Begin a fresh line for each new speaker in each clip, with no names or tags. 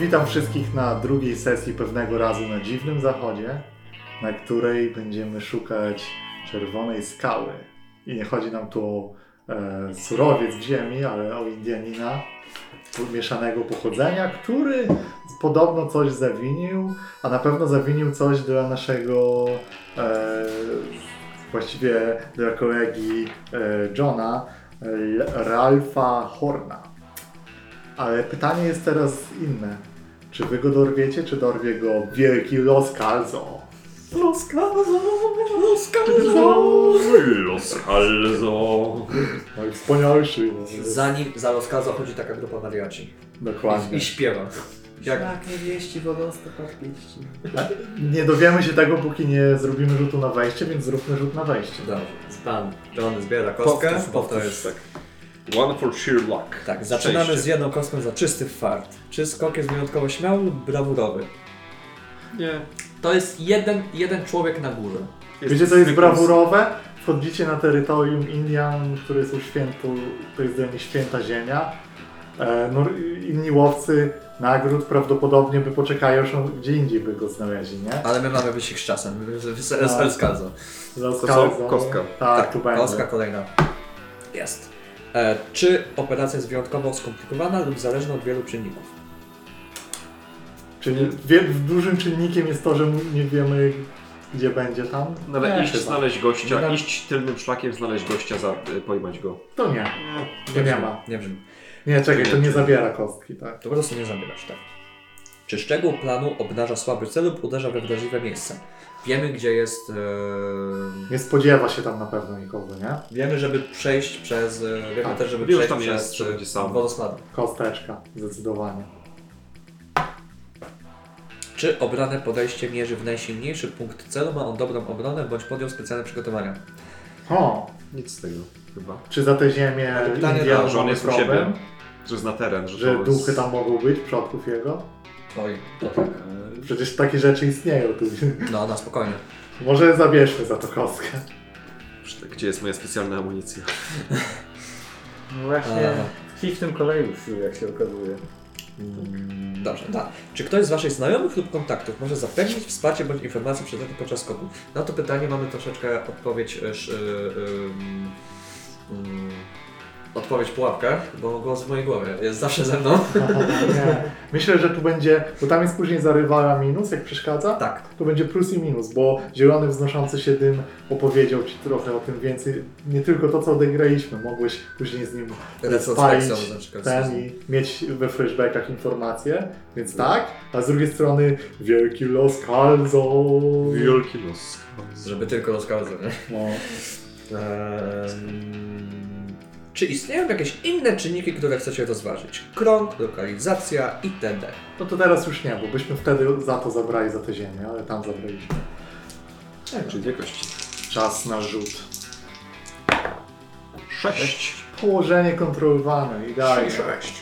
Witam wszystkich na drugiej sesji pewnego razu na dziwnym zachodzie, na której będziemy szukać czerwonej skały. I nie chodzi nam tu o e, surowiec w ziemi, ale o Indianina mieszanego pochodzenia, który podobno coś zawinił, a na pewno zawinił coś dla naszego e, właściwie dla kolegi e, Johna, L- Ralfa Horna. Ale pytanie jest teraz inne. Czy wy go dorwiecie, czy dorwie go wielki Los Calzo? Los Calzo! Los
Los Halzo.
No Najwspanialszy.
Zanim za Loska zachodzi taka grupa wariaci. I,
Dokładnie.
I śpiewa. Jak
Tak, nie wieści, wodosta, tak wieści.
Nie dowiemy się tego, póki nie zrobimy rzutu na wejście, więc zróbmy rzut na wejście.
dobrze. Pan John zbiera kostkę,
Powtórz,
bo
powtórz.
to
tak.
jest...
One for sheer luck.
Tak, zaczynamy
Szczęście.
z jedną kostką za czysty fart. Czy skok jest wyjątkowo śmiały lub brawurowy?
Nie.
To jest jeden, jeden człowiek na górze.
Wiecie, co jest
zwykłym-
brawurowe? Wchodzicie na terytorium Indian, które jest uświętu, to jest dla nich święta ziemia. E, no, inni łowcy nagród prawdopodobnie by poczekają, aż on gdzie indziej by go znaleźli, nie?
Ale my mamy wyścig z czasem, z- z-
Tak.
z Elskazo.
Los
To są
Calzo.
kostka.
Tak, tu będzie.
Kostka kolejna. Jest. E, czy operacja jest wyjątkowo skomplikowana lub zależna od wielu czynników?
Czyli wie, dużym czynnikiem jest to, że nie wiemy, gdzie będzie tam.
No ale
Nie,
iść,
chyba.
znaleźć gościa,
No tak.
iść tylnym szlakiem, znaleźć gościa, za, y, pojmać go.
To nie.
No,
To nie
brzmi,
ma.
Nie brzmi.
Nie, czekaj, to nie zabiera kostki, tak.
To po prostu nie zabierasz, tak. Czy szczegół planu obnaża słaby cel lub uderza we wrażliwe miejsce? Wiemy, gdzie jest... e,
Nie spodziewa się tam na pewno nikogo, nie?
Wiemy, żeby przejść przez. e, Wiemy
Tak,
też, żeby
wiem, że
przejść
tam
przez
jest, że będzie
e,
sam.
wodospady.
Kosteczka, zdecydowanie.
Czy obrane podejście mierzy w najsilniejszy punkt celu, ma on dobrą obronę bądź podjął specjalne przygotowania?
O,
Nic z tego chyba.
czy za tę ziemię
pytanie
Indian
tak,
Że on
mamy
jest u
problem,
siebie, że zna teren, że,
że
to
duchy
jest...
tam mogą być, przodków jego?
Oj, to tak.
E,
Przecież takie rzeczy istnieją tu.
No, na spokojnie.
Może zabierzmy za to kostkę.
Gdzie jest moja specjalna amunicja?
No właśnie,
Aha.
kij w tym koleju sił, jak się okazuje.
Mm, Dobrze, tak. Czy ktoś z Waszych znajomych lub kontaktów może zapewnić wsparcie bądź informacje przydatne podczas skoku? Na to pytanie mamy troszeczkę odpowiedź. e, sz- e, em, mm, Odpowiedź pułapkę, bo głos w mojej głowie jest zawsze ze mną.
Nie. Myślę, że tu będzie, bo tam jest później zarywala minus, jak przeszkadza.
Tak,
To będzie plus i minus, bo zielony wznoszący się dym opowiedział Ci trochę o tym więcej. Nie tylko to, co odegraliśmy, mogłeś później z nim
tak
retrospekcją
spalić
na przykład.
ten i mieć we flashbackach informacje, więc tak. A z drugiej strony wielki los Calzo.
Wielki los.
Żeby tylko rozkazał.
No.
Czy istnieją jakieś inne czynniki, które chcecie rozważyć? Krąg, lokalizacja itd.
no to teraz już nie, bo byśmy wtedy za to zabrali, za tę ziemię, ale tam zabraliśmy.
Czyli dwie kości.
Czas na rzut.
Sześć.
Położenie kontrolowane, idealnie.
Sześć.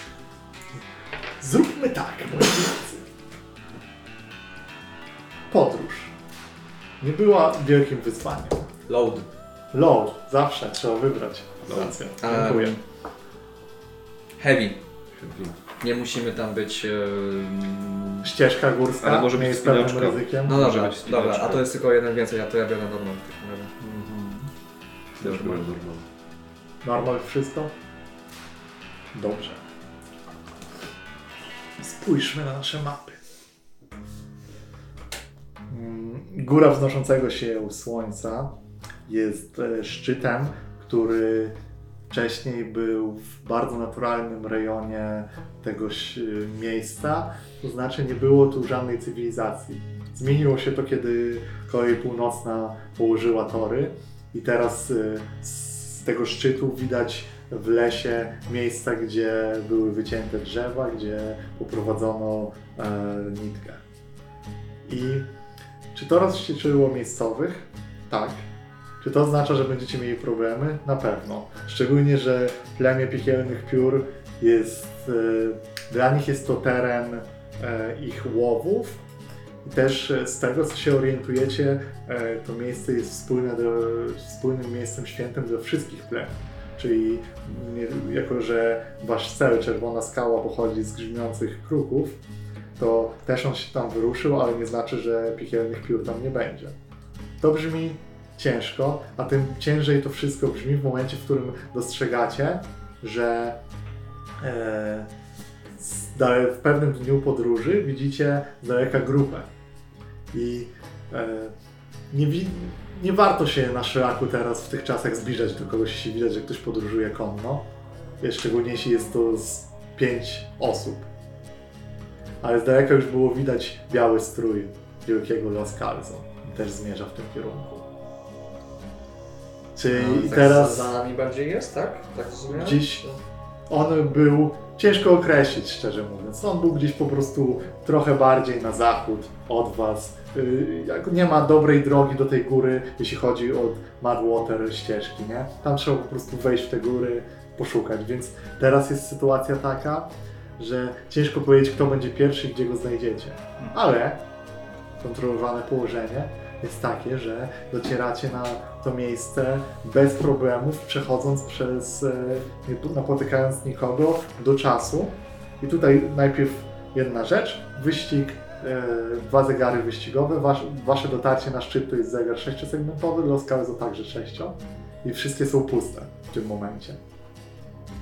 Zróbmy tak, moi drodzy. Podróż. Nie była wielkim wyzwaniem.
Load.
Low, zawsze trzeba wybrać. Racja. Dziękuję.
Em, Heavy. Nie musimy tam być. e, em,
Ścieżka górska,
ale może
nie
być
jest pewnym
spinaczka.
ryzykiem.
No
Może
dobra,
być
dobra,
spinaczka.
a to jest tylko jeden więcej, a to ja biorę tak, normą. w takim razie.
Normalnie, normalnie.
Normal wszystko? Dobrze. Spójrzmy na nasze mapy. Mm, Góra wznoszącego się słońca jest e, szczytem, który wcześniej był w bardzo naturalnym rejonie tegoś e, miejsca, to znaczy nie było tu żadnej cywilizacji. Zmieniło się to, kiedy kolej północna położyła tory i teraz y, z tego szczytu widać w lesie miejsca, gdzie były wycięte drzewa, gdzie poprowadzono e, nitkę. I czy to rozświeczyło miejscowych? Tak. Czy to oznacza, że będziecie mieli problemy? Na pewno. Szczególnie, że plemię piekielnych piór jest. E, dla nich jest to teren e, ich łowów. I też e, z tego, co się orientujecie, E, to miejsce jest wspólne do, wspólnym miejscem świętym dla wszystkich plemion. Czyli nie, jako, że wasz cel, Czerwona Skała, pochodzi z grzmiących kruków, to też on się tam wyruszył, ale nie znaczy, że piekielnych piór tam nie będzie. To brzmi ciężko, a tym ciężej to wszystko brzmi w momencie, w którym dostrzegacie, że e, z dale- w pewnym dniu podróży widzicie z daleka grupę. I e, nie, wi- nie warto się na szlaku teraz w tych czasach zbliżać do kogoś, jeśli widać, że ktoś podróżuje konno. Szczególnie jeśli jest to z pięć osób. Ale z daleka już było widać biały strój wielkiego Los Calzo. Też zmierza w tym kierunku. Czyli i teraz...
No, tak Za nami bardziej jest, tak? Tak rozumiem?
Gdzieś on był, ciężko określić szczerze mówiąc, on był gdzieś po prostu trochę bardziej na zachód od Was. Yy, jak Nie ma dobrej drogi do tej góry, jeśli chodzi od Madwater ścieżki, nie? Tam trzeba po prostu wejść w te góry, poszukać, więc teraz jest sytuacja taka, że ciężko powiedzieć kto będzie pierwszy i gdzie go znajdziecie. Ale kontrolowane położenie jest takie, że docieracie na to miejsce bez problemów, przechodząc przez, e, nie tu- napotykając nikogo do czasu. I tutaj najpierw jedna rzecz, wyścig, e, dwa zegary wyścigowe, wasz, wasze dotarcie na szczyt to jest zegar sześciosegmentowy, Los Calzo także sześcio i wszystkie są puste w tym momencie.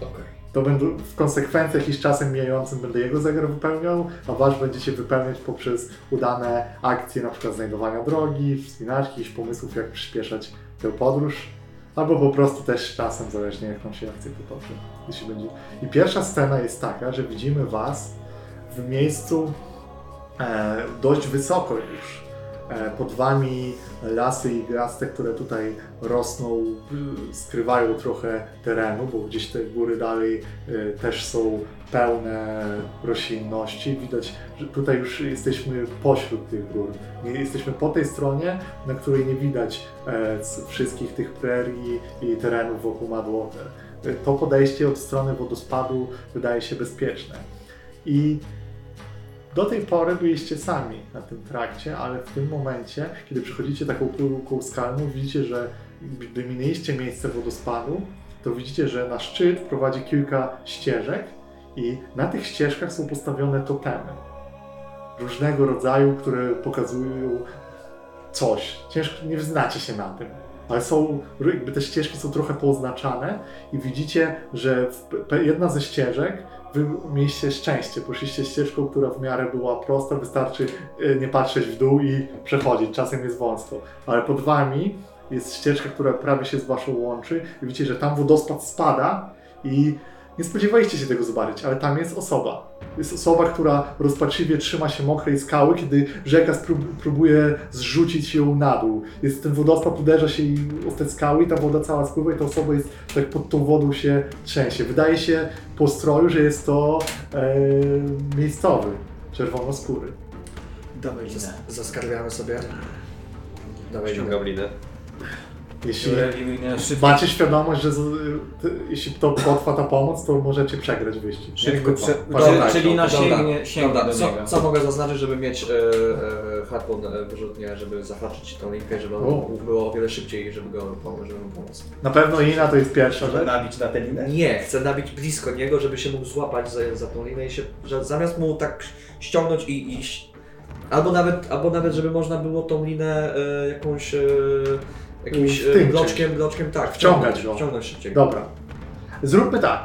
No, Okej.
To będą w konsekwencji jakiś czasem mijającym będę jego zegar wypełniał, a wasz będziecie wypełniać poprzez udane akcje, na przykład znajdowania drogi, wspinaczki, jakichś pomysłów, jak przyspieszać tę podróż. Albo po prostu też czasem, zależnie jak nam się akcje potoczy. Jeśli będzie... I pierwsza scena jest taka, że widzimy was w miejscu e, dość wysoko już. E, pod wami lasy i graste, które tutaj rosną, y, skrywają trochę terenu, bo gdzieś te góry dalej y, też są pełne roślinności. Widać, że tutaj już jesteśmy pośród tych gór. Nie- Jesteśmy po tej stronie, na której nie widać e, c- wszystkich tych prerii i terenów wokół Madwater. Y, To podejście od strony wodospadu wydaje się bezpieczne. I do tej pory byliście sami na tym trakcie, ale w tym momencie, kiedy przechodzicie taką półką skalną, widzicie, że gdy minęliście miejsce wodospadu, to widzicie, że na szczyt prowadzi kilka ścieżek i na tych ścieżkach są postawione totemy. Różnego rodzaju, które pokazują coś. Ciężko, nie znacie się na tym. Ale są, jakby te ścieżki są trochę pooznaczane i widzicie, że w, pe- jedna ze ścieżek Wy mieliście szczęście, poszliście ścieżką, która w miarę była prosta, wystarczy e, nie patrzeć w dół i przechodzić, czasem jest wąsko. Ale pod wami jest ścieżka, która prawie się z waszą łączy i widzicie, że tam wodospad spada i nie spodziewaliście się tego zobaczyć, ale tam jest osoba. Jest osoba, która rozpaczliwie trzyma się mokrej skały, kiedy rzeka sprób- próbuje zrzucić ją na dół. Jest ten wodospad, uderza się i o te skały i ta woda cała spływa i ta osoba jest tak pod tą wodą się trzęsie. Wydaje się po stroju, że jest to e, miejscowy, czerwonoskóry.
Dawaj linę.
Zas- Zaskarbiamy sobie. Dawaj,
Ściągam linę.
Jeśli
Dobra, linę szybko,
macie świadomość, że z, te, jeśli to potrwa ta pomoc, to możecie przegrać wyścig. nie?
szybko
Tylko
prze...
pa-
Czy,
pamiętajcie
czyli
o
na
tym.
sięgnie, sięgnie
Dobra,
do niego.
co, co mogę zaznaczyć, żeby mieć e, e, harpun e, wyrzutnie, żeby zahaczyć tą linkę, żeby on
O.
mógł było o wiele szybciej i żeby go pom- żeby mu pomóc.
Na pewno Ina to jest pierwsza rzecz.
nabić na tę linę?
Nie, chcę nabić blisko niego, żeby się mógł złapać za, za tą linę i się, że zamiast mu tak ściągnąć i iść. Albo nawet, albo nawet żeby można było tą linę e, jakąś. E, jakimś e,
Wtymczyć.
bloczkiem, bloczkiem, tak,
Wciągać
wciągnąć,
go.
wciągnąć szybciej.
Dobra. Zróbmy tak.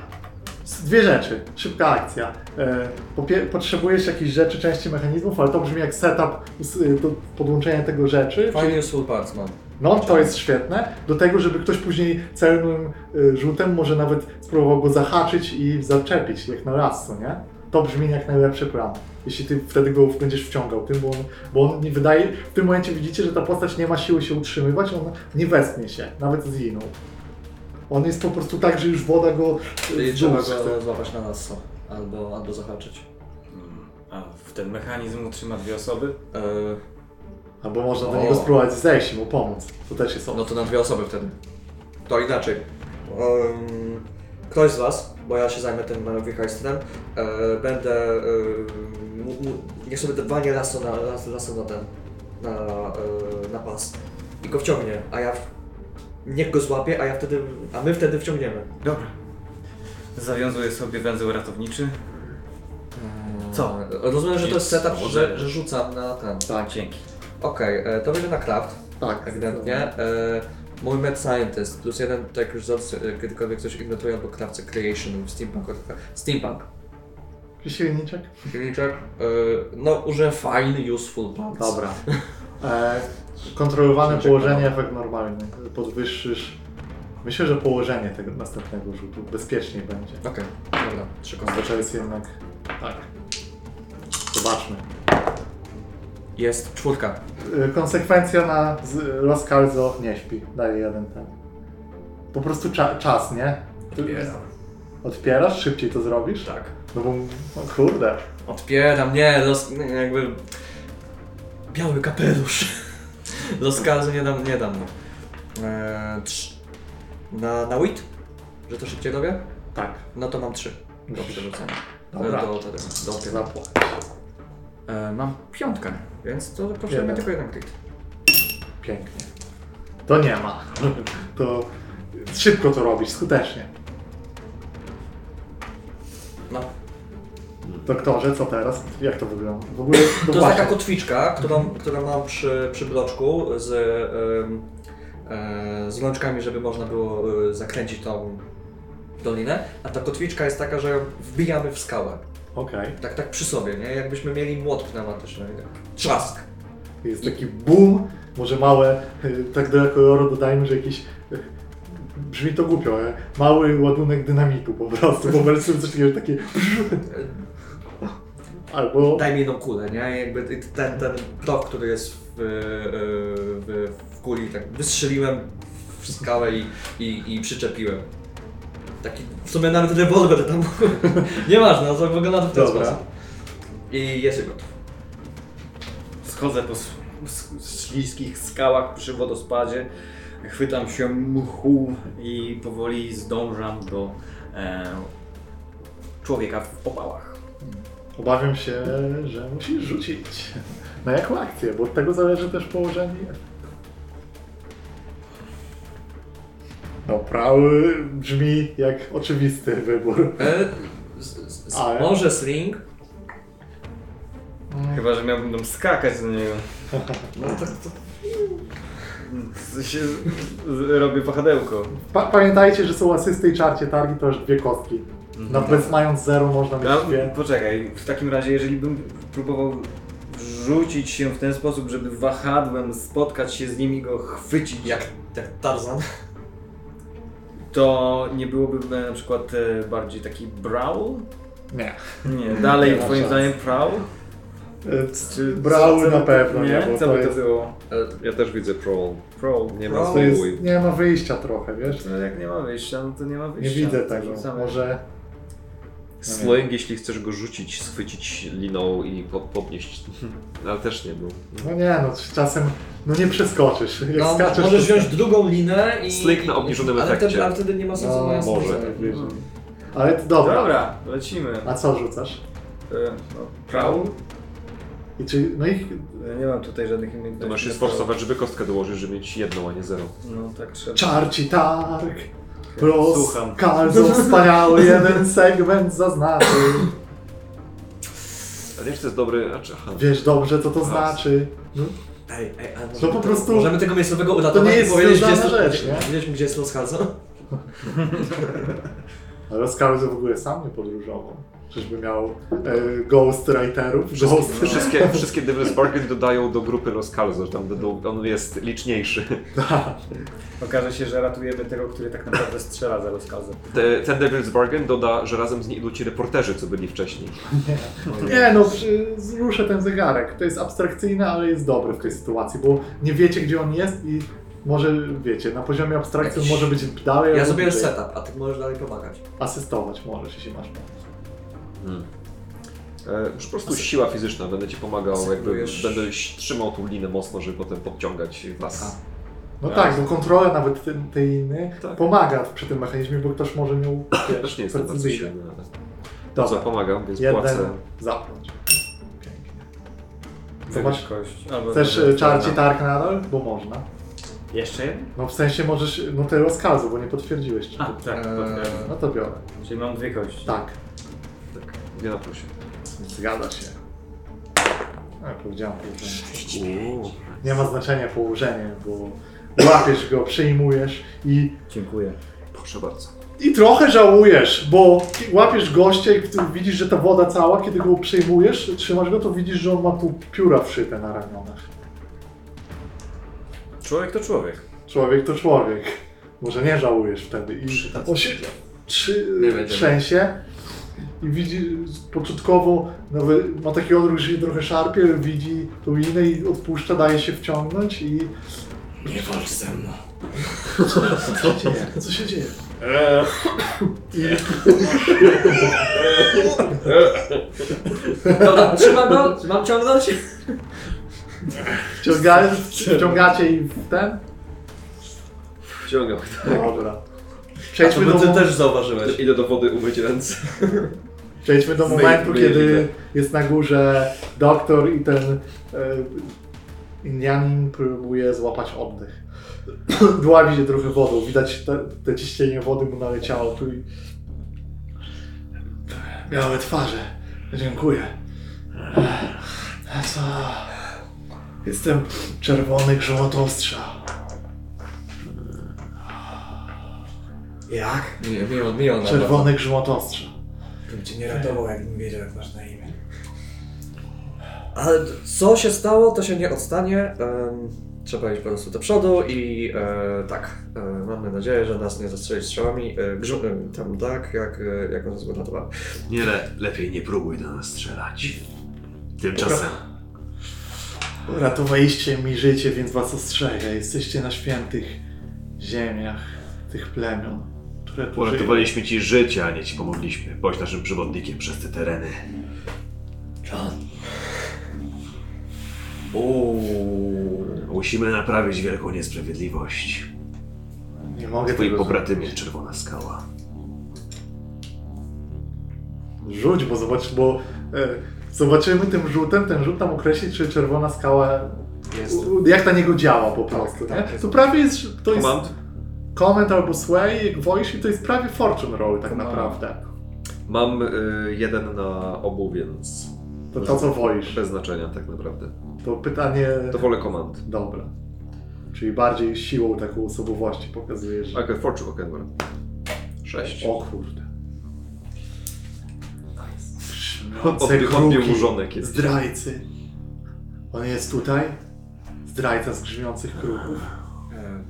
S- Dwie rzeczy. Szybka akcja. E, po pie- potrzebujesz jakichś rzeczy, części mechanizmów, ale to brzmi jak setup s- y, do podłączenia tego rzeczy.
Fajny useful parts mam.
No, to jest świetne. Do tego, żeby ktoś później celnym y, rzutem może nawet spróbował go zahaczyć i zaczepić, jak na raz, co nie? To brzmi jak najlepszy plan. Jeśli ty wtedy go będziesz wciągał tym, bo on, bo on nie wydaje... W tym momencie widzicie, że ta postać nie ma siły się utrzymywać, on nie westnie się, nawet z inną. On jest po prostu tak, że już woda go... y,
Czyli
w dół
trzeba
chce.
go złapać na nas co? albo, albo zahaczyć.
Mm, A w ten mechanizm utrzyma dwie osoby?
E,
Albo można do
O.
niego spróbować zejść i mu pomóc. To też jest
no to na dwie osoby wtedy. To inaczej. Em, ktoś z Was, bo ja się zajmę tym małym hajstrem, e, będę... E, mu- mu- niech sobie te dwa nie lasą na, las, lasą na ten... Na, e, na pas. I go wciągnie, a ja... W, niech go złapie, a ja wtedy... A my wtedy wciągniemy.
Dobra. Zawiązuję sobie węzeł ratowniczy.
Co?
Rozumiem, że to jest
Nic,
setup,
może-
że, że rzucam na ten.
Tak,
Dzięki.
Okej, e, to będzie na craft,
tak.
ewidentnie. E, mój Mad Scientist, plus jeden, tak jak już zawsze, e, kiedykolwiek coś inventuje albo krawce Creation w Steampunku. to tak- Steampunk.
Jakiś silniczek?
Silniczek, e, no użyłem fine, useful parts.
Dobra. E, kontrolowane
Silniczek
położenie
panowy.
efekt normalny. Podwyższysz. Myślę, że położenie tego następnego rzutu bezpieczniej będzie.
Okej, dobra, trzy kostki.
Kosteczka jest jednak. Tak. Zobaczmy.
Jest czwórka.
Y, Konsekwencja na z- Los Calzo nie śpi. Daje jeden ten. Po prostu cza, czas, nie? Ty-
Odpieram.
Odpierasz? Szybciej to zrobisz?
Tak.
No bo no kurde.
Odpieram, nie, los, nie, jakby... Biały kapelusz. Los Calzo nie dam, nie dam mu. Eee, trz- Na, na wit? Że to szybciej robię?
Tak.
No to mam trzy. Do
Musisz.
przerzucenia.
Dobra.
E, Do, do, do, do odpieram.
Zapłać.
E, mam piątkę.
Więc to potrzebny
Jeden.
tylko jeden klik.
Pięknie. To nie ma. To szybko to robisz, skutecznie.
No.
Doktorze, co teraz? Jak to wygląda? W ogóle
To jest taka kotwiczka, którą, którą mam przy, przy bloczku z, em, e, z rączkami, żeby można było e, zakręcić tą dolinę. A ta kotwiczka jest taka, że ją wbijamy w skałę.
Okej.
Tak, tak przy sobie, nie? Jakbyśmy mieli młot pneumatyczny. nie? Trzask.
Jest taki boom, może małe, y, tak do koloru dodajmy, że jakiś, y, brzmi to głupio, ale mały ładunek dynamitu po prostu, bo wreszcie coś takiego, że takie albo
Daj mi jedną kulę, nie? Jakby i ten, ten prop, który jest w, e, w, w kuli, tak wystrzeliłem w skałę i, i, i przyczepiłem. Taki, w sumie nawet rewolwer tam był. Nieważne, no to wygląda to w ten
Dobra.
sposób. I jest gotów.
Schodzę po s- s- śliskich skałach przy wodospadzie, chwytam się mchu i powoli zdążam do e, człowieka w opałach.
obawiam się, że musisz rzucić na jaką akcję, bo od tego zależy też położenie. No prawy brzmi jak oczywisty wybór.
E, z, z,
Ale-
Może sling?
Chyba, że miałbym tam skakać do niego.
No
tak,
to, to
Z- Się, z, robię pochadełko.
Pa pamiętajcie, że są asysty i czarcie targi, to aż dwie kostki. Nawet mając zero można mieć
Ja,
dwie.
poczekaj, w takim razie, jeżeli bym próbował rzucić się w ten sposób, żeby wahadłem spotkać się z nim i go chwycić,
jak, jak Tarzan.
to nie byłoby e, na przykład e, bardziej taki brawl?
Nie.
Nie, dalej
Nie ma
twoim
szans.
zdaniem brawl? Czy-
Brały
co by
na
to-
pewno, nie,
nie?
bo
Co
to
by to
jest-
było?
Ja też widzę pro.
Brawl.
Nie
Pro.
ma
To jest,
spokój.
nie ma wyjścia trochę, wiesz?
No jak nie ma wyjścia, no to nie ma
Nie
wyjścia.
widzę
To
tego.
same-
Może
Slang, jeśli chcesz go rzucić, schwycić liną i po, podnieść. Ale też nie, no.
no nie, no czasem no nie przeskoczysz. Jak
No,
skaczesz,
możesz
to...
wziąć drugą linę i...
Sling na obniżonym
ale
efekcie.
Wtedy, ale wtedy nie ma sensu
No,
moja
może.
strona.
Najbliżej. Ale to dobra.
Hmm. Dobra, lecimy. E,
A co rzucasz?
no, brawl?
I czy, no i
E, Nie mam tutaj żadnych umiejętności.
To masz się
na
sforsować, żeby kostkę dołożyć, żeby mieć jedną, a nie zero.
brawl. No tak trzeba.
czarci targ, los,
Słucham.
kalzo wspaniały, jeden segment zaznaczy.
Ale jeszcze jest dobry. A czy, aha.
Wiesz dobrze, co to znaczy.
Ej, ej, ale
No po prostu-
Możemy tego miejscowego uratować
to nie
i
jest
powiedzieć, gdzie jest,
związana rzecz,
gdzie,
nie?
powiedzieć mu, gdzie jest Los Hazo.
Ale z Kalzo w ogóle sam nie podróżował. Czyżby miał e, ghostwriterów? Ghost...
Wszystkie, wszystkie Devil's Bargain dodają do grupy Los Calzos, tam do, do, on jest liczniejszy.
Tak.
Okaże się, że ratujemy tego, który tak naprawdę strzela za rozkazem.
Te, ten Devil's Bargain doda, że razem z nim idą ci reporterzy, co byli wcześniej.
Nie no, przy- zruszę ten zegarek. To jest abstrakcyjne, ale jest dobre w tej sytuacji, bo nie wiecie, gdzie on jest i może, wiecie, na poziomie abstrakcji on
Jakiś-
może być dalej
Ja
albo
zrobię
bliżej.
setup, a ty możesz dalej pomagać.
Asystować możesz, jeśli masz.
Hmm. E, już po prostu siła fizyczna, będę ci pomagał, jakby
Asygnujesz-
będę ś- trzymał tą linę mocno, żeby potem podciągać was.
No tak, bo kontrola nawet tej, tej innej
Tak.
pomaga przy tym mechanizmie, bo ktoś może nią,
Ja też nie
wiesz,
jestem bardzo
precyzyjnie.
silny, ale to co,
Dobra,
pomagam, więc
jeden
płacę.
zapnąć. Pięknie.
Tak.
Zobacz,
Kość. Albo
chcesz
może-
e, czarci targ nadal? Bo można.
Jeszcze jeden?
No w sensie możesz, no te rozkazu, bo nie potwierdziłeś. czy
A,
to-
tak,
Eee,
potwierdzam.
No to biorę.
Czyli mam dwie kości.
Tak.
Tak, Nie na plusie.
Zgadza się. No, A, powiedziałam położenie. Nie ma znaczenia położenie, bo łapiesz go, przyjmujesz i,
Dziękuję.
Proszę bardzo.
i trochę żałujesz, bo łapiesz gościa i tu widzisz, że ta woda cała, kiedy go przyjmujesz, trzymasz go, to widzisz, że on ma tu pióra wszyte na ramionach.
Człowiek to człowiek.
Człowiek to człowiek. Może nie żałujesz wtedy. I on się trzy,
Nie będziemy.
trzęsie i widzi początkowo, nawet ma taki odruch, że się trochę szarpie, widzi tą linę i odpuszcza, daje się wciągnąć i...
Nie walcz ze mną.
Co się dzieje? Co się dzieje? Tak.
Dobra, trzymam go, mam ciągnąć.
Wciąga, wciągacie i w ten?
Wciągam.
Dobra. Przejdźmy do,
ty
mo-
też zauważyłeś.
Idę do wody umyć ręce.
przejdźmy do
Myj-
momentu,
myj
kiedy
linę.
jest na górze doktor i ten e, Indianin próbuje złapać oddech. Dławi się trochę wodą, widać te, te ciśnienie wody mu naleciało tu i... Białe twarze. Dziękuję. Co? Jestem czerwony grzmotostrzał.
Jak?
Mi, mi, mi ona.
Czerwony grzmotostrzał.
Bym cię nie ratował, jakbym wiedział, jak masz na imię.
Ale co się stało, to się nie odstanie. Em, trzeba iść po prostu do przodu i e, tak, e, mamy nadzieję, że nas nie zastrzeli strzałami. E, grzu- e, tam tak, jak, e, jak nas zgotowała.
Nie, le, lepiej nie próbuj do nas strzelać. Tymczasem
Uratowaliście mi życie, więc was ostrzegam. Jesteście na świętych ziemiach tych plemion, które tu żyją.
uratowaliśmy ci życie, a nie ci pomogliśmy. Bądź naszym przewodnikiem przez te tereny. John. Musimy naprawić wielką niesprawiedliwość.
Nie mogę
Twoi
tego
pobratymie, Czerwona Skała.
Rzuć, bo, zobacz, bo e, zobaczymy tym rzutem, ten rzut nam określi, czy czerwona skała,
Jest.
u- jak na niego działa po prostu.
tak,
nie?
jest.
To prawie jest, to jest
Command?
comment albo sway, voice i to jest prawie fortune roll tak
Command.
naprawdę.
Mam y, jeden na obu, więc
To to, co wolisz.
bez znaczenia tak naprawdę.
To pytanie...
To wolę command.
Dobra. Czyli bardziej siłą taką osobowości pokazujesz.
Okej, fortune, okej, dobra. Sześć.
O kurde. Śmiące
Odbił, odbił
kruki.
mu żonek jest.
Zdrajcy. On jest tutaj? Zdrajca z grzmiących kruków.
E,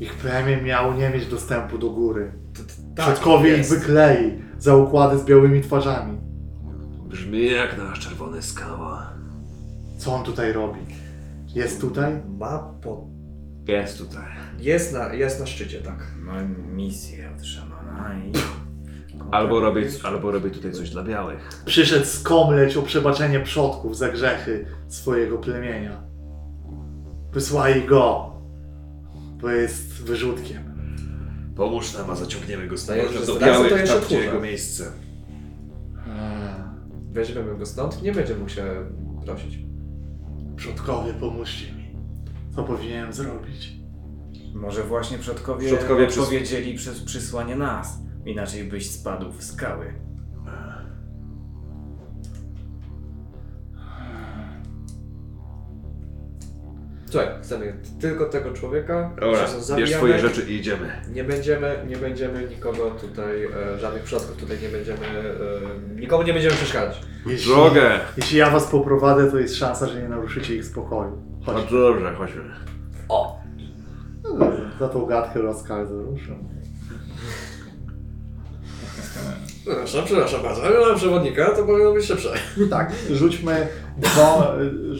Ich plemię miało nie mieć dostępu do góry.
t- t-
Tak,
Przodkowie
jest.
ich wyklei za układy z białymi twarzami.
Brzmi jak nasz Czerwona Skała.
Co on tutaj robi? Jest tutaj?
Ma po...
Jest tutaj.
Jest na, jest na szczycie, tak.
Mam misję od szamana i...
Albo robię, albo robię tutaj coś dla białych.
Przyszedł skomleć o przebaczenie przodków za grzechy swojego plemienia. Wysłali go, bo jest wyrzutkiem.
Pomóż nam, a zaciągniemy go z
No ja już
powrotem do
zdradzę, to
białych,
jeszcze
tam gdzie
tchórza.
no.
jego miejsce.
Weźmiemy go stąd, nie będziemy mu się prosić.
Przodkowie, pomóżcie mi. Co powinienem zrobić?
Może właśnie przodkowie,
Przodkowie
przodkowie
przys-
powiedzieli przez przysłanie nas. Inaczej byś spadł w skały.
Słuchaj, chcemy tylko tego człowieka.
Dobra,
Wszyscy są
bierz
zabijane.
swoje rzeczy i idziemy.
Nie będziemy, nie będziemy nikogo tutaj, e, żadnych przodków tutaj nie będziemy, e, nikomu nie będziemy przeszkadzać.
Jeśli,
Drogę!
jeśli ja was poprowadzę, to jest szansa, że nie naruszycie ich spokoju. Chodź,
No
Bardzo dobrze, chodźmy.
za tą gadkę rozkaz ruszę.
Przepraszam, przepraszam bardzo, ale mam przewodnika, to powinno być szybsze.
Tak, rzućmy dwa,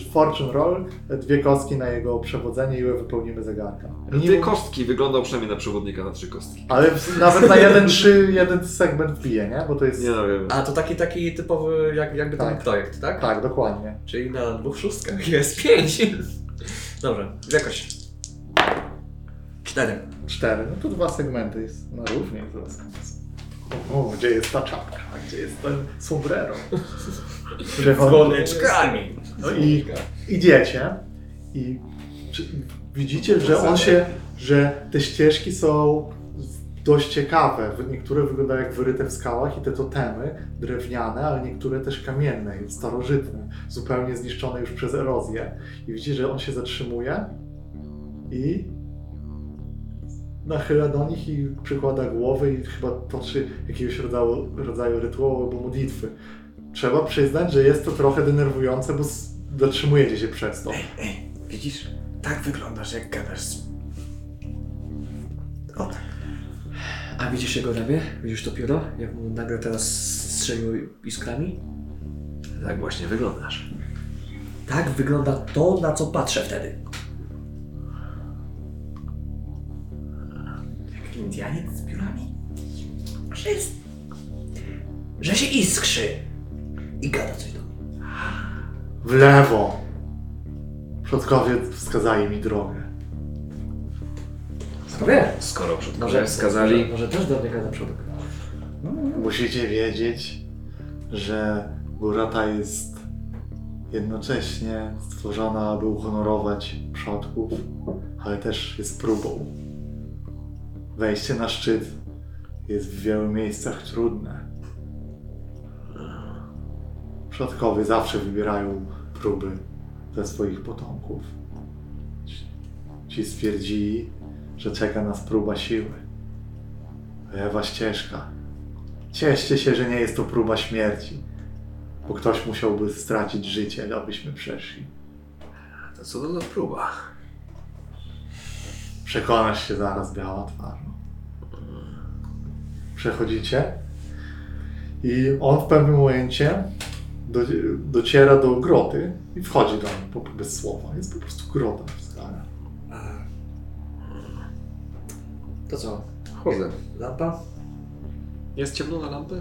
y, fortune roll, dwie kostki na jego przewodzenie i wypełnimy zegarka.
Dwie No kostki, wyglądał przynajmniej na przewodnika na trzy kostki.
Ale w, nawet na jeden, trzy, jeden segment wbije, nie? Bo to jest...
Nie no, wiem.
A to taki, taki typowy, jak, jakby ten
Tak.
projekt, tak?
Tak, dokładnie.
Czyli na dwóch szóstkach jest pięć. Dobra, jakoś. Cztery.
Cztery. No to dwa segmenty jest na równie z rozkaz. O, gdzie jest ta czapka? Gdzie jest ten sombrero?
Dzwoneczkami!
No i idziecie i czy- widzicie, że on się, że te ścieżki są dość ciekawe. Niektóre wyglądają jak wyryte w skałach i te totemy drewniane, ale niektóre też kamienne i starożytne, zupełnie zniszczone już przez erozję. I widzisz, że on się zatrzymuje i nachyla do nich i przykłada głowy i chyba toczy jakiegoś rodzaju, rodzaju rytuału albo modlitwy. Trzeba przyznać, że jest to trochę denerwujące, bo s- zatrzymujecie się przez to.
Ej, widzisz? Tak wyglądasz, jak gadasz z tak.
A widzisz jego ramię? Widzisz to pióro? Jak mu nagle teraz strzeliło iskrami?
Tak właśnie wyglądasz.
Tak wygląda to, na co patrzę wtedy.
Indianiec z piórami.
Że jest... Że się iskrzy. I gada coś do mnie.
W lewo! Przodkowie wskazali mi drogę.
Kto wie?
Skoro
Może,
przodkowie wskazali,
Może, może też do mnie gada przodek.
Musicie wiedzieć, że Burata jest jednocześnie stworzona, aby uhonorować przodków, ale też jest próbą. Wejście na szczyt jest w wielu miejscach trudne. Przodkowie zawsze wybierają próby dla swoich potomków. Ci stwierdzili, że czeka nas próba siły. Lewa ścieżka. Cieszcie się, że nie jest to próba śmierci, bo ktoś musiałby stracić życie, abyśmy przeszli.
To co to za próba?
Przekonasz się zaraz, biała twarz. Przechodzicie i on w pewnym momencie do, dociera do groty i wchodzi do niej po- bez słowa. Jest po prostu grota w skale.
To co?
chodzę.
Lampa?
Jest ciemno na lampę?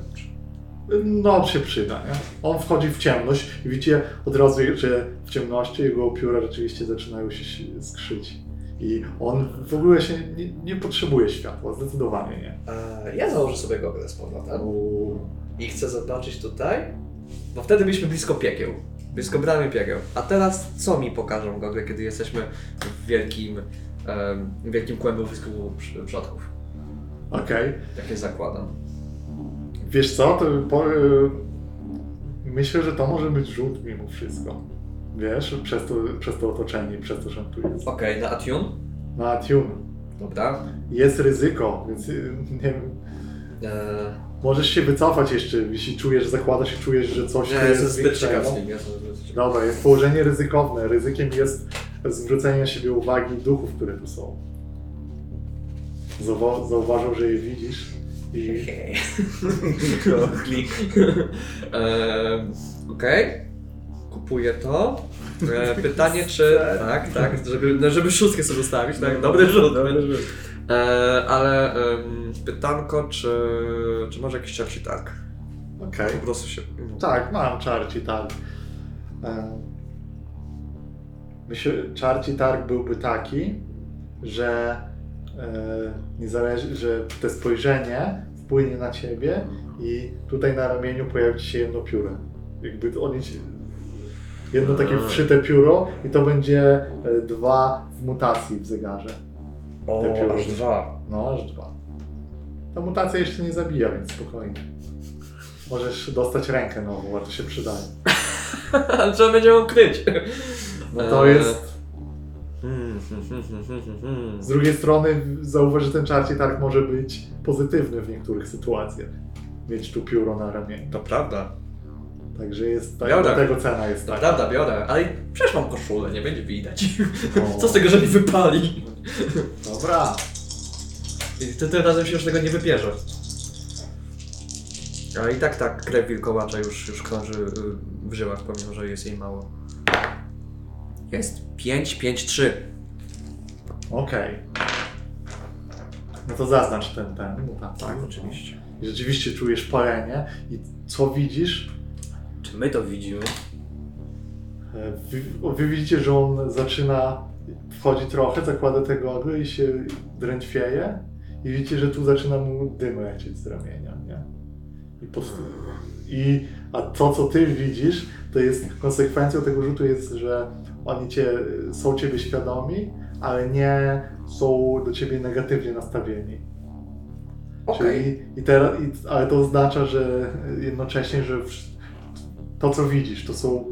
No, się przyda, nie? On wchodzi w ciemność i widzicie od razu, że w ciemności jego pióra rzeczywiście zaczynają się si- skrzyć. I on w ogóle się nie, nie potrzebuje światła, zdecydowanie nie.
E, ja założę sobie gogle z powrotem.
Uuu.
I chcę zobaczyć tutaj. Bo wtedy byliśmy blisko piekieł. Blisko bramy piekieł. A teraz co mi pokażą gogle, kiedy jesteśmy w wielkim, em, wielkim kłębowisku przy- przodków?
Okej.
Jakie zakładam.
Wiesz co, to po, y, myślę, że to może być rzut mimo wszystko. Wiesz, przez to, przez to otoczenie, i przez to, że on tu jest.
Okej, na Atun.
Na tune.
Dobra.
Jest ryzyko, więc y, nie wiem.
E,
Możesz się wycofać jeszcze, jeśli czujesz, zakładasz i czujesz, że coś
Nie,
tu
jestem zbyt No.
większego.
ciekaw z nim, ja jestem zbyt ciekaw.
Dobra, jest położenie ryzykowne. Ryzykiem jest zwrócenie na siebie uwagi duchów, które tu są. Zauwa- zauważą, że je widzisz i
Klik. Em, Okej. Kupuję to. E, pytanie czy... tak, tak, żeby, no, żeby szóstkę sobie zostawić,
No,
tak? Dobry rzut. Dobry rzut. E, ale em, pytanko, czy, czy może jakiś czarszy tak?
okej.
Po prostu się...
Tak, mam czarci targ. E, Myślę, czarci targ byłby taki, że, e, niezależnie, że te spojrzenie wpłynie na ciebie i tutaj na ramieniu pojawi ci się jedno pióro. Jakby oni ci, jedno takie wszyte pióro i to będzie e, dwa w mutacji w zegarze. Te pióro.
O, aż dwa.
No, aż dwa. Ta mutacja jeszcze nie zabija, więc spokojnie. Możesz dostać rękę nową, bardzo się przydaje.
Trzeba będzie ją kryć.
No to
Eee.
jest. Z drugiej strony zauważ, że ten czarci targ może być pozytywny w niektórych sytuacjach. Mieć tu pióro na ramieniu.
To prawda.
Także jest tak,
Biorę.
do tego cena jest tak.
To
taka.
prawda, biorę. Ale przecież mam koszulę, nie będzie widać.
O.
Co z tego, że mi wypali?
Dobra.
I ty tym razem się już tego nie wybierze. Ale i tak ta krew wilkołacza już, już krąży y, w żyłach, pomimo że jest jej mało. Jest 5, 5, 3.
Okej. No to zaznacz ten ten. mutację.
oczywiście.
I Rzeczywiście czujesz palenie i co widzisz?
Czy my to widzimy?
E, Wy, o, wy widzicie, że on zaczyna, wchodzi trochę, zakłada te gogle i się drętwieje. I widzicie, że tu zaczyna mu dym lecieć z ramienia, nie? I, pod... I a to, co ty widzisz, to jest konsekwencją tego rzutu jest, że oni cię, są ciebie świadomi, ale nie są do ciebie negatywnie nastawieni.
Okej.
Czyli, i teraz, i, ale to oznacza, że jednocześnie, że wsz- to co widzisz, to są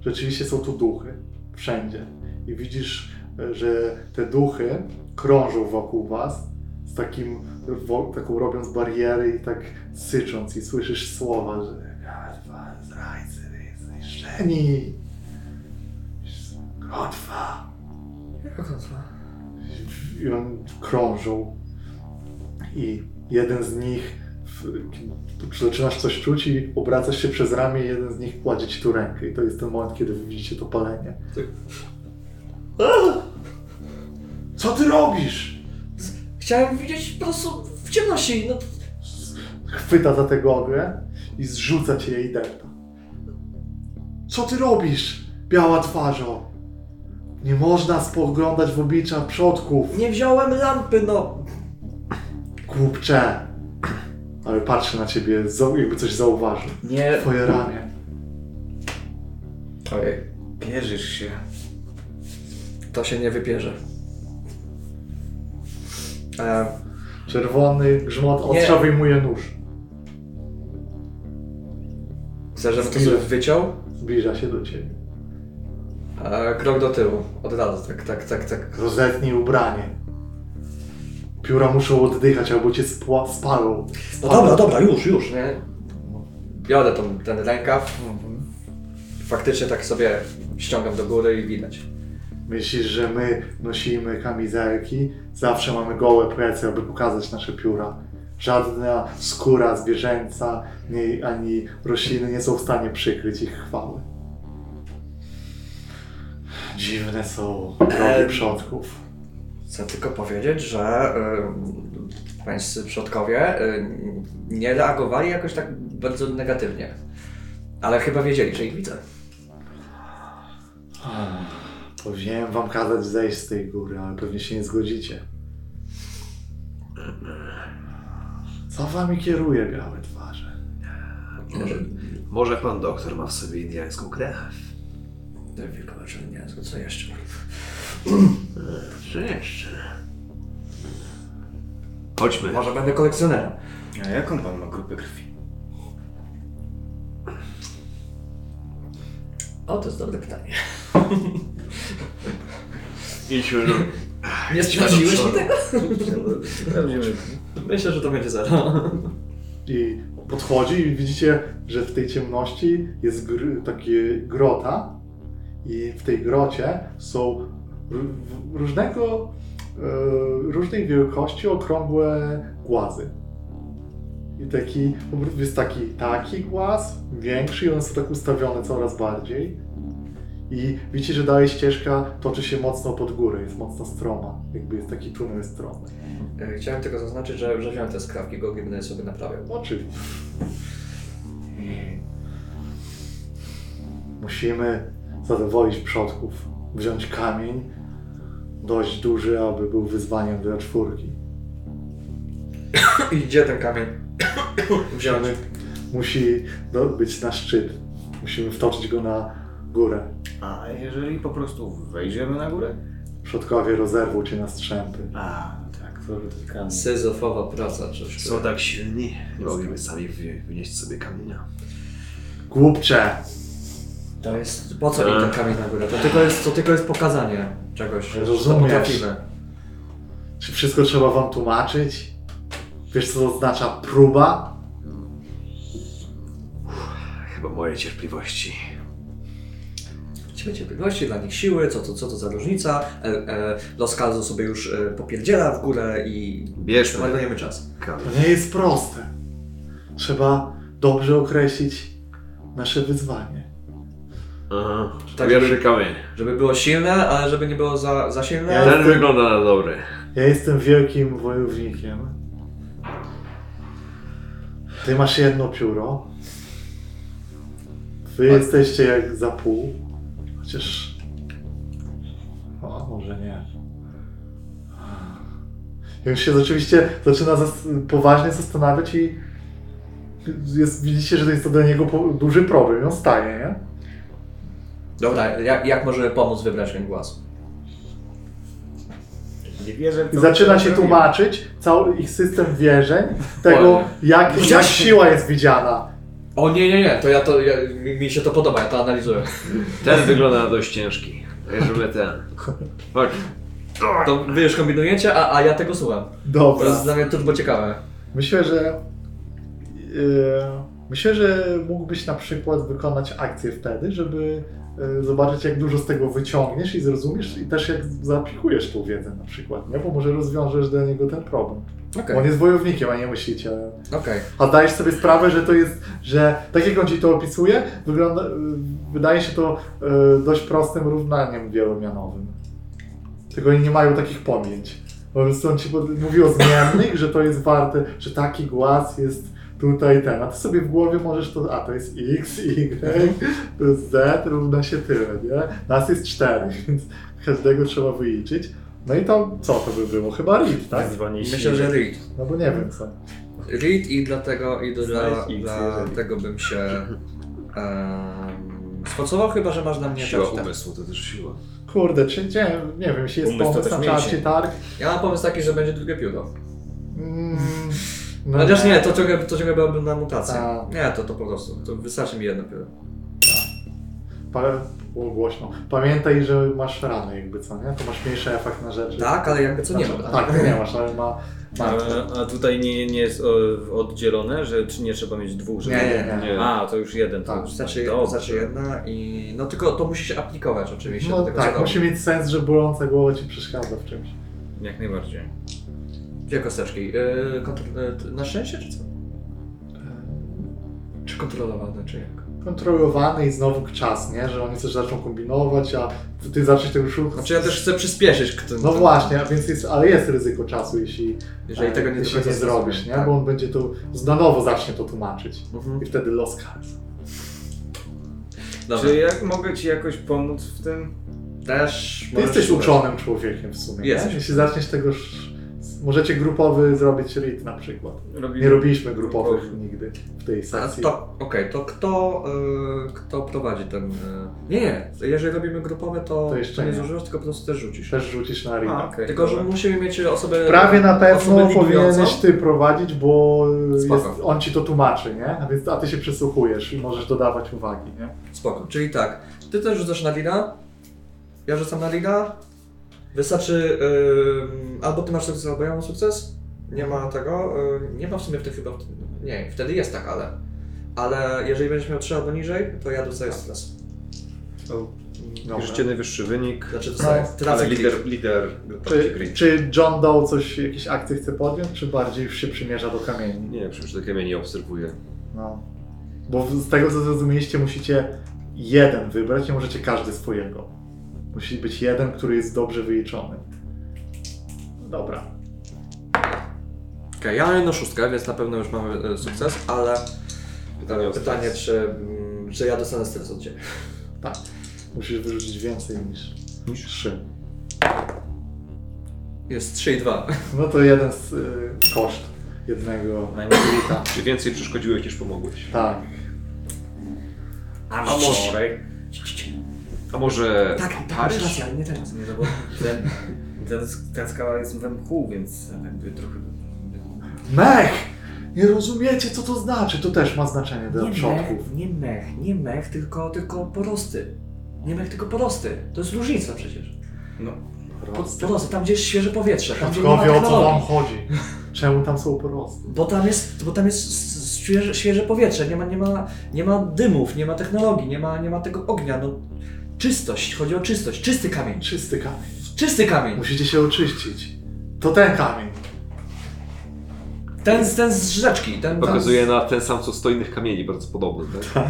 rzeczywiście są tu duchy wszędzie. I widzisz, e, że te duchy krążą wokół was z takim, wo, taką robiąc bariery i tak sycząc i słyszysz słowa, że Gatwa, zdrajcy, zniszczeni. Klątwa. I on krążą. I jeden z nich, w- kiedy zaczynasz coś czuć i obracasz się przez ramię, i jeden z nich kładzie ci tu rękę. I to jest ten moment, kiedy wy widzicie to palenie.
Tak.
A! Co ty robisz?
Chciałem widzieć po prostu w ciemności. No,
Chwyta za tę gogle i zrzuca cię jej depta. Co ty robisz, biała twarzo? Nie można spoglądać w oblicza przodków.
nie wziąłem lampy, no.
Głupcze! Ale patrzy na ciebie, za- jakby coś zauważył.
Nie
Twoje ramię.
Ojej,
bierzesz się.
to się nie wypierze. E,
Czerwony grzmot ostrza
Nie.
wyjmuje nóż.
chcę, żebym to sobie wyciął.
Zbliża się do ciebie.
E, krok do tyłu. Od razu, tak, tak, tak, tak.
Rozetnij ubranie. Pióra muszą oddychać, albo cię spła- spalą.
No dobra, dobra, już, już, nie? Biorę tą, ten rękaw. Faktycznie tak sobie ściągam do góry i widać.
Myślisz, że my nosimy kamizelki? Zawsze mamy gołe plecy, aby pokazać nasze pióra. Żadna skóra zwierzęca nie, ani rośliny nie są w stanie przykryć ich chwały. Dziwne są drogi
Em.
przodków.
Chcę tylko powiedzieć, że y, pańscy przodkowie y, nie reagowali jakoś tak bardzo negatywnie. Ale chyba wiedzieli, że ich widzę.
Powinienem wam kazać zejść z tej góry, ale pewnie się nie zgodzicie. Co wami kieruje, białe twarze?
Może, może pan doktor ma w sobie indiańską krew?
Tylko, że nie, co jeszcze?
Czy jeszcze? Chodźmy.
Może będę kolekcjonerem.
A jaką pan ma grupę krwi?
O, to jest dobre pytanie.
Idźmy do...
Nie
sprawdziłeś mi tego?
Myślę, że to będzie zero.
I podchodzi i widzicie, że w tej ciemności jest gr- takie grota i w tej grocie są r- w- różnego, e, różnej wielkości okrągłe głazy. I taki, jest taki, taki głaz, większy i one są tak ustawione coraz bardziej. I widzicie, że dalej ścieżka toczy się mocno pod górę, jest mocno stroma, jakby jest taki tunel strony.
E, Chciałem tylko zaznaczyć, że, że wziąłem te skrawki, go będę sobie naprawiał.
Oczywiście. Musimy zadowolić przodków, wziąć kamień, dość duży, aby był wyzwaniem dla czwórki.
I gdzie ten kamień? Wziąłem.
Musi do- być na szczyt. Musimy wtoczyć go na górę.
A jeżeli po prostu wejdziemy na górę?
Przodkowie rozerwą cię na strzępy.
A, no tak, to dotykamy.
Syzofowa praca, czyż?
Są tak silni, nie mogliby sami wy- wynieść sobie kamienia.
Głupcze!
To jest... Po co im ten kamień na górę? To tylko jest, to tylko jest pokazanie czegoś, że
Rozumiesz.
potrafimy.
Czy wszystko trzeba wam tłumaczyć? Wiesz, co to oznacza próba?
Chyba mojej cierpliwości.
Ciebie cierpliwości, dla nich siły, co to, co to za różnica. E, e, Los Calzo sobie już e, popierdziela w górę i
Bierzmy.
marnujemy czas.
To
Kamień.
nie jest proste. Trzeba dobrze określić nasze wyzwanie.
Aha.
Tak,
Bierzmy kamień.
Żeby było silne, ale żeby nie było za, za silne.
Ja-
Ten wygląda na dobry.
Ja jestem wielkim wojownikiem. Ty masz jedno pióro. Wy jesteście jak za pół. Chociaż. O, może nie. I on się rzeczywiście zaczyna zas poważnie zastanawiać i jest, widzicie, że to jest to dla niego po- duży problem. I on staje, nie?
Dobra, jak, jak możemy pomóc wybrać ten głos?
Nie wierzę w
I
co
zaczyna się
zrobiłem.
tłumaczyć cały ich system wierzeń, tego jak, jak siła jest widziana.
O nie, nie, nie, to ja to, ja, mi, mi się to podoba, ja to analizuję.
Ten wygląda na dość ciężki. Bierzemy ten. Chodź.
To wy już kombinujecie, a, a ja tego słucham. To
Dobra.
jest dla mnie turbo ciekawe.
Myślę, że. Yy, myślę, że mógłbyś na przykład wykonać akcję wtedy, żeby yy, zobaczyć, jak dużo z tego wyciągniesz i zrozumiesz, i też jak zaaplikujesz tą wiedzę na przykład, nie? Bo może rozwiążesz dla niego ten problem.
Okej,
Bo on jest wojownikiem, a nie myślicielem.
okej.
A dajesz sobie sprawę, że to jest, że tak jak on ci to opisuje, wygląda, y, wydaje się to y, dość prostym równaniem wielomianowym. Tylko oni nie mają takich pamięć. Po prostu on ci pod- mówi o zmiennych, że to jest warte, że taki głaz jest tutaj ten, a ty sobie w głowie możesz to, a to jest x, y, to jest z, równa się tyle, nie? Nas jest cztery, więc każdego trzeba wyliczyć. No i to, co to by było? Chyba read, tak?
Myślę, że read.
No bo nie wiem co.
Read i dlatego i dla,
X,
dla
jeżeli.
tego bym się um, sfocował, chyba że masz na mnie
Siła
ten-
umysłu to też tak. siła.
Kurde, czy nie, nie wiem, jeśli jest
Umysł to
pomysł
też
na czarcie
mięsień.
targ.
Ja mam pomysł taki, że będzie drugie pióro.
Mm,
No
no Tak.
Chociaż nie, to ciągle, to ciągle byłaby na mutację.
A.
Nie, to, to po prostu, to wystarczy mi jedno pióro.
Pa, było głośno. Pamiętaj, że masz rany jakby, co nie? To masz mniejszy efekt na rzeczy.
Tak, ale jakby co nie ma. No,
Tak, ty nie masz, ale ma... ma
A, a tutaj nie, nie jest o, oddzielone, że czy nie trzeba mieć dwóch, żeby...
Nie, nie,
Nie.
A, to już jeden. To
Tak, znaczy-
już
Wystarczy,
dobrze.
wystarczy jedna i... No tylko to musi się aplikować oczywiście
No
do tego
tak,
zadomu.
musi mieć sens, że boląca głowa ci przeszkadza w czymś.
Jak najbardziej.
Dwie kosteczki. Yy, kontr- yy, t- na szczęście czy co?
E,
Czy kontrolowane, czy jak?
Kontrolowany i znowu czas, nie? Że oni coś zaczną kombinować, a ty, ty zaczniesz tego szukać.
Znaczy ja też chcę przyspieszyć. Kto,
No właśnie, a więc jest, ale jest ryzyko czasu, jeśli,
Jeżeli tego nie, tak.
jeśli nie zrobisz, nie? Bo on będzie to, na nowo zacznie to tłumaczyć.
Mhm.
I wtedy los kars.
Dobra.
Czy jak mogę ci jakoś pomóc w tym?
Też
Ty
możesz
jesteś
spróbować.
uczonym człowiekiem w sumie.
Jesteś.
Nie? Jeśli zaczniesz tego. sz- Możecie grupowy zrobić read na przykład.
Robimy...
Nie robiliśmy grupowych nigdy w tej
A
sekcji.
to, okej, to kto, y, kto prowadzi ten... Y... Nie, nie, jeżeli robimy grupowe, to,
To jeszcze
nie
nie.
zużywasz, tylko po prostu też rzucisz.
Też rzucisz na
A,
read.
okej,
tylko, że
dobra.
musimy mieć osobę...
Prawie na pewno
osobę ligującą.
powinieneś ty prowadzić, bo
Spoko.
jest, on ci to tłumaczy, nie? A, więc, a ty się przysłuchujesz i możesz dodawać uwagi, nie?
Spoko, czyli tak, ty też rzucasz na lina, ja rzucam na lina, wystarczy... ym, albo ty masz sukces, albo ja mam sukces. Nie ma tego, ym, nie ma w sumie w tych chyba... Nie, wtedy jest tak, ale... Ale jeżeli będziesz miał 3 albo niżej, to ja dostaję sukces.
Dobra.
Bierzecie najwyższy
Tak.
wynik.
Znaczy dostaję,
No,
tracę
ale
klik.
lider, lider partii
Czy,
Green.
czy John Doe coś, jakieś akcje chce podjąć, czy bardziej już się przymierza do kamieni?
Nie, przecież te kamienie obserwuję.
No. Bo z tego co zrozumieliście, musicie jeden wybrać, nie możecie każdy swojego. Musi być jeden, który jest dobrze wyliczony. Dobra.
Okej, ja mam jedną szóstkę, więc na pewno już mamy e, sukces, ale
Pytanie o
pytanie, czy, mm, czy ja dostanę stres od Ciebie.
Tak. Musisz wyrzucić więcej niż, niż trzy.
Jest 3 i 2.
No to jeden z y, koszt jednego elita.
Czy więcej przeszkodziłeś niż pomogłeś?
Tak.
A,
A może
Tak, tak, masz
Paryż?
rację, ale nie teraz. Nie, no bo ten, ten, ta skała jest we mchu, więc jakby trochę...
Mech! Nie rozumiecie co to znaczy. To też ma znaczenie dla
Nie
przodków.
mech, nie mech, nie mech, tylko, tylko porosty. Nie mech, tylko porosty. To jest różnica przecież.
Prosty.
Porosty, tam gdzie jest świeże powietrze, tam gdzie znaczy, nie ma
Przodkowie o co wam
technologii.
chodzi? Czemu tam są porosty?
Bo tam jest, bo tam jest s- s- świeże, świeże powietrze, nie ma, nie, ma, nie ma dymów, nie ma technologii, nie ma, nie ma tego ognia. No, czystość, chodzi o czystość, czysty kamień,
Czysty kamień.
czysty kamień.
Musicie się oczyścić. To ten kamień.
Ten, z- ten z rzeczki, ten tam z-
Pokazuje na ten sam co stojnych kamieni, bardzo podobny, tak?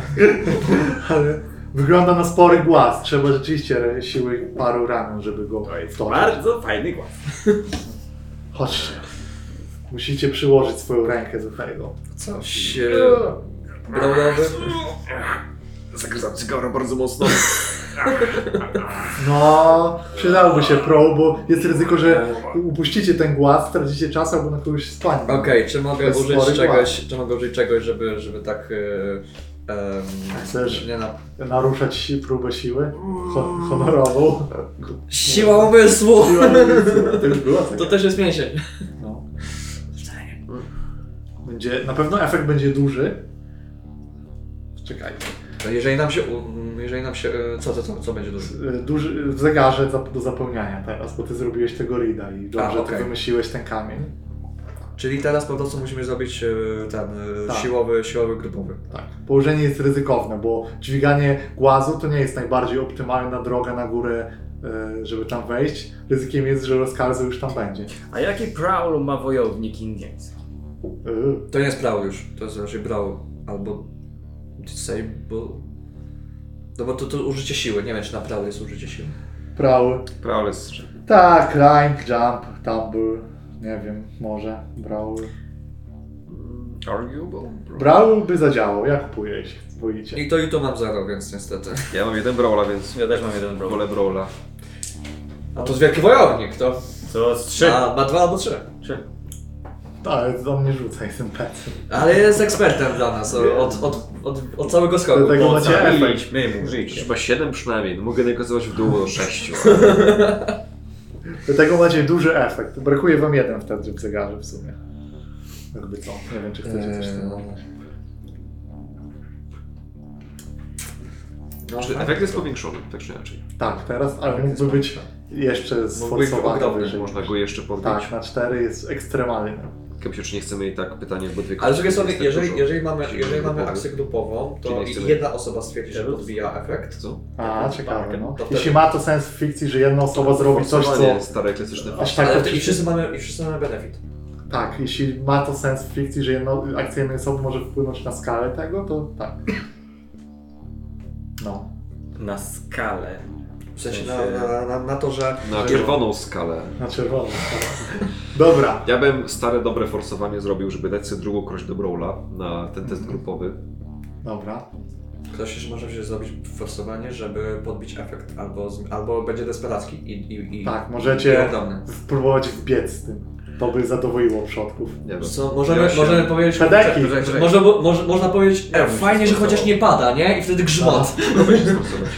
Ale wygląda na spory głaz. Trzeba rzeczywiście siły paru ramion, żeby go wtoczyć.
Bardzo fajny głos.
Chodźcie. Musicie przyłożyć swoją rękę do tego.
Coś e, brązowy.
Zagryzam cygaro bardzo mocno.
No, przydałby się pro, bo jest ryzyko, że upuścicie ten głaz, stracicie czas albo na kogoś spanie.
Okej, czy mogę
To jest
użyć
spory
czegoś, czy mogę użyć czegoś, żeby, żeby tak e, Em,
Chcesz-
Nie na...
Naruszać si- próbę siły ho- honorową.
Siła umysłu!
Siła umysłu. To już była
To
taka.
też jest mięsień.
No. Będzie, na pewno efekt będzie duży. Czekaj.
no Jeżeli nam się... u- Jeżeli nam się... e, Co, co, co, co będzie dużo?
Y, Duży, w zegarze zap- do zapełniania teraz, bo ty zrobiłeś tego rida i dobrze
okej.
ty wymyśliłeś ten kamień.
Czyli teraz po prostu musimy zrobić e, ten e,
Tak.
siłowy, siłowy grupowy.
Tak. Położenie jest ryzykowne, bo dźwiganie głazu to nie jest najbardziej optymalna droga na górę, y, żeby tam wejść. Ryzykiem jest, że rozkazu już tam będzie.
A jaki prowl ma wojownik indyjski?
Yy.
To nie jest brawl już, to jest raczej brawl albo disable. No bo to, to użycie siły, nie wiem czy na brawl jest użycie siły.
Prały.
Prawl jest strzel.
Tak, climb, jump, tumble, nie wiem, może, brawl.
Arguable?
Brawl by zadziałał, ja kupuję, jeśli boicie.
I to i to mam zero, więc niestety.
Ja mam jeden brawla, więc
Ja też mam jeden prowl.
wolę brawla.
A to jest wielki wojownik, to
Co? Z trzy.
ma, ma dwa albo trzy.
trzy.
Ale do mnie rzucaj tym pecem.
Ale jest ekspertem dla nas o- od, od, od, od całego skoku.
Dlatego macie
No
efekt.
Ocaliliśmy mu życie.
Chyba 7 przynajmniej, no mogę negocjować w dół do 6.
Dlatego macie duży efekt. Brakuje wam jeden wtedy w zegarze w sumie. Jakby co? Nie wiem, czy chcecie coś
Eee,
z tym robić.
No, Znaczy,
Czy efekt jest powiększony, tak czy inaczej.
Tak, teraz, ale mógłby być jeszcze
Mógłby go
sforsowany
ogromny,
wyżej.
można go jeszcze podbić.
Tak, na cztery jest ekstremalny.
Kepcio, czy nie chcemy i tak pytanie, bo dwie
Ale z
kości
drugiej strony,
jest tak
jeżeli,
dużo.
jeżeli mamy,
Czyli
jeżeli mamy
grupowy.
akcję grupową, to
Czyli nie chcemy-
i jedna osoba stwierdzi, że podbija efekt,
Co?
A, ciekawe, no.
To wtedy-
Jeśli ma to sens w fikcji, że jedna osoba zrobi coś, co...
Forsowanie Stare klasyczne
Aż tak
ale
to-
i wszyscy mamy, i wszyscy mamy benefit.
Tak, jeśli ma to sens w fikcji, że jedno, akcja jednej osoby może wpłynąć na skalę tego, to tak. No.
Na skalę.
W sensie na, na, na, na to, że
na czerwoną skalę.
Na czerwono. Dobra.
Ja bym stare dobre forsowanie zrobił, żeby dać sobie drugą krość do Brawla na ten test grupowy.
Dobra.
ktoś jeszcze może się zrobić forsowanie, żeby podbić efekt, albo, z, albo będzie desperacki i, i, i
Tak,
i
możecie
randomny.
spróbować wbiec z tym. To by zadowoliło przodków.
Nie wiem.
Co, możemy,
Ja się-
możemy powiedzieć...
Pedeki!
Może, może, można powiedzieć, e,
bym się
Fajnie, że chociaż nie pada, nie? I wtedy grzmot.
Spróbuję się sforsować.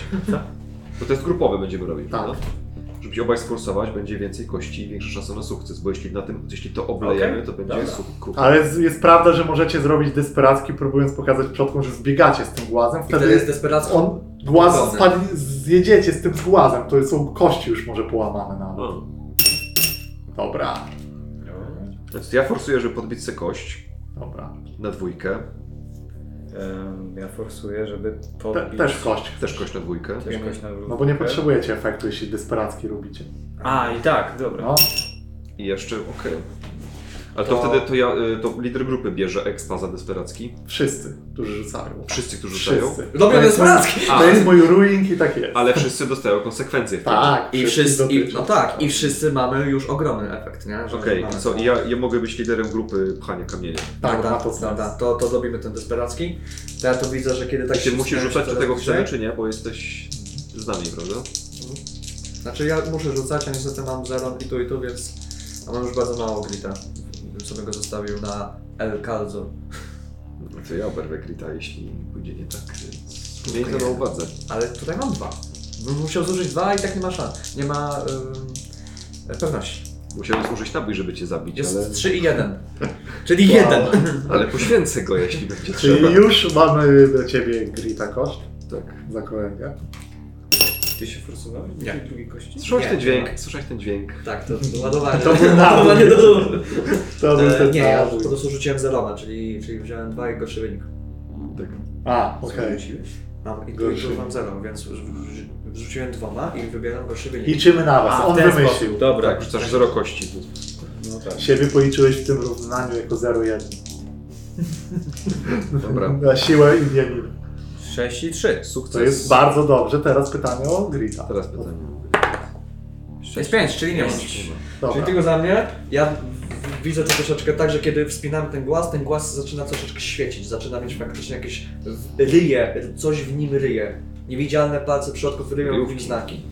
Bo test grupowy będziemy robić,
Tak.
prawda? Żeby się obaj sforsować, będzie więcej kości i większa szansa na sukces, bo jeśli, na tym, jeśli to oblejemy, to będzie
Dobra.
suk- kru-
Ale jest, jest prawda, że możecie zrobić desperacki, próbując pokazać przodkom, że zbiegacie z tym głazem.
I wtedy jest desperacki.
on głaz
Głazem.
spadnie, zjedziecie z tym głazem. To są kości już może połamane nawet.
A.
Dobra.
Więc ja forsuję, żeby podbić sobie kość
Dobra.
na dwójkę,
Em, Ja forsuję, żeby
Te,
podbić...
też kość.
też kość na dwójkę.
Tak.
Też kość na
No bo nie potrzebujecie efektu, jeśli desperacki robicie.
A, i tak, dobra.
No.
I jeszcze, okej. Ale to, wtedy to ja, y, to lider grupy bierze expa za desperacki.
Wszyscy, którzy rzucają.
Wszyscy, którzy rzucają.
Wszyscy. To
Robią
jest-
desperacki.
To jest mój ruling i tak jest.
Ale wszyscy dostają konsekwencje. wtedy.
Tak,
I
wszystkich
wszyscy, i,
dotyczy.
no tak, i wszyscy mamy już ogromny efekt, nie? Że
Okej,
mamy
co,
to-
ja, ja mogę być liderem grupy pchania kamienia.
Tak,
Dobra,
ma to sens.
dobra, to, to zrobimy ten desperacki. To ja to widzę, że kiedy tak
Tak się musisz
wspinałem
rzucać, czy
coraz
tego
bliżej-
chcemy, czy nie, bo jesteś z nami, prawda?
Znaczy ja muszę rzucać, a niestety mam 0 i tu i tu, więc a mam już bardzo mało grita. Bym sobie go zostawił na El Calzo.
No To ja oberwę Grita, jeśli pójdzie nie tak. więc Miej to na uwadze.
Ale tutaj mam dwa. Bym musiał zużyć dwa i tak nie ma szans. Nie ma ym, pewności.
Musiałem zużyć nabój, żeby cię zabić, ale,
Jest trzy i jeden. Czyli jeden.
ale poświęcę go, jeśli będzie trzeba.
Czyli już mamy do ciebie Grita koszt
Tak.
za kolegę.
Ty się forsowałeś?
Nie.
Tej drugiej kości?
Słyszałeś
Nie,
ten dźwięk,
nie
słyszałeś ten dźwięk.
Tak, to, to ładowanie.
To był
ładowanie do
nabój.
dół.
To był
E,
ten
nie, ja po
nabój.
prostu rzuciłem zeroma, czyli, czyli wziąłem dwa i gorszy wynik.
Tak.
A, okej.
Mam i tu, i
Gorszy.
tu mam zero, więc rzu- rzu- rzuciłem dwoma i wybieram gorszy wynik.
Liczymy na was,
A, w
on
ten
wymyślił.
sposób, dobra.
Tak, rzucasz zero kości.
No tak.
Siebie policzyłeś w tym równaniu jako 0,1.
Dobra.
Na siłę i diamin.
6 i 3.
Sukces.
To jest bardzo dobrze. Teraz pytanie o Grita.
Teraz pytanie.
Jest pięć, czyli nie masz.
Pięć.
Dobra.
Czyli tylko za mnie, ja w- widzę to troszeczkę tak, że kiedy wspinamy ten głaz, ten głaz zaczyna troszeczkę świecić, zaczyna mieć faktycznie jakieś w- ryje, coś w nim ryje. Niewidzialne palce przodków ryją w nim znaki.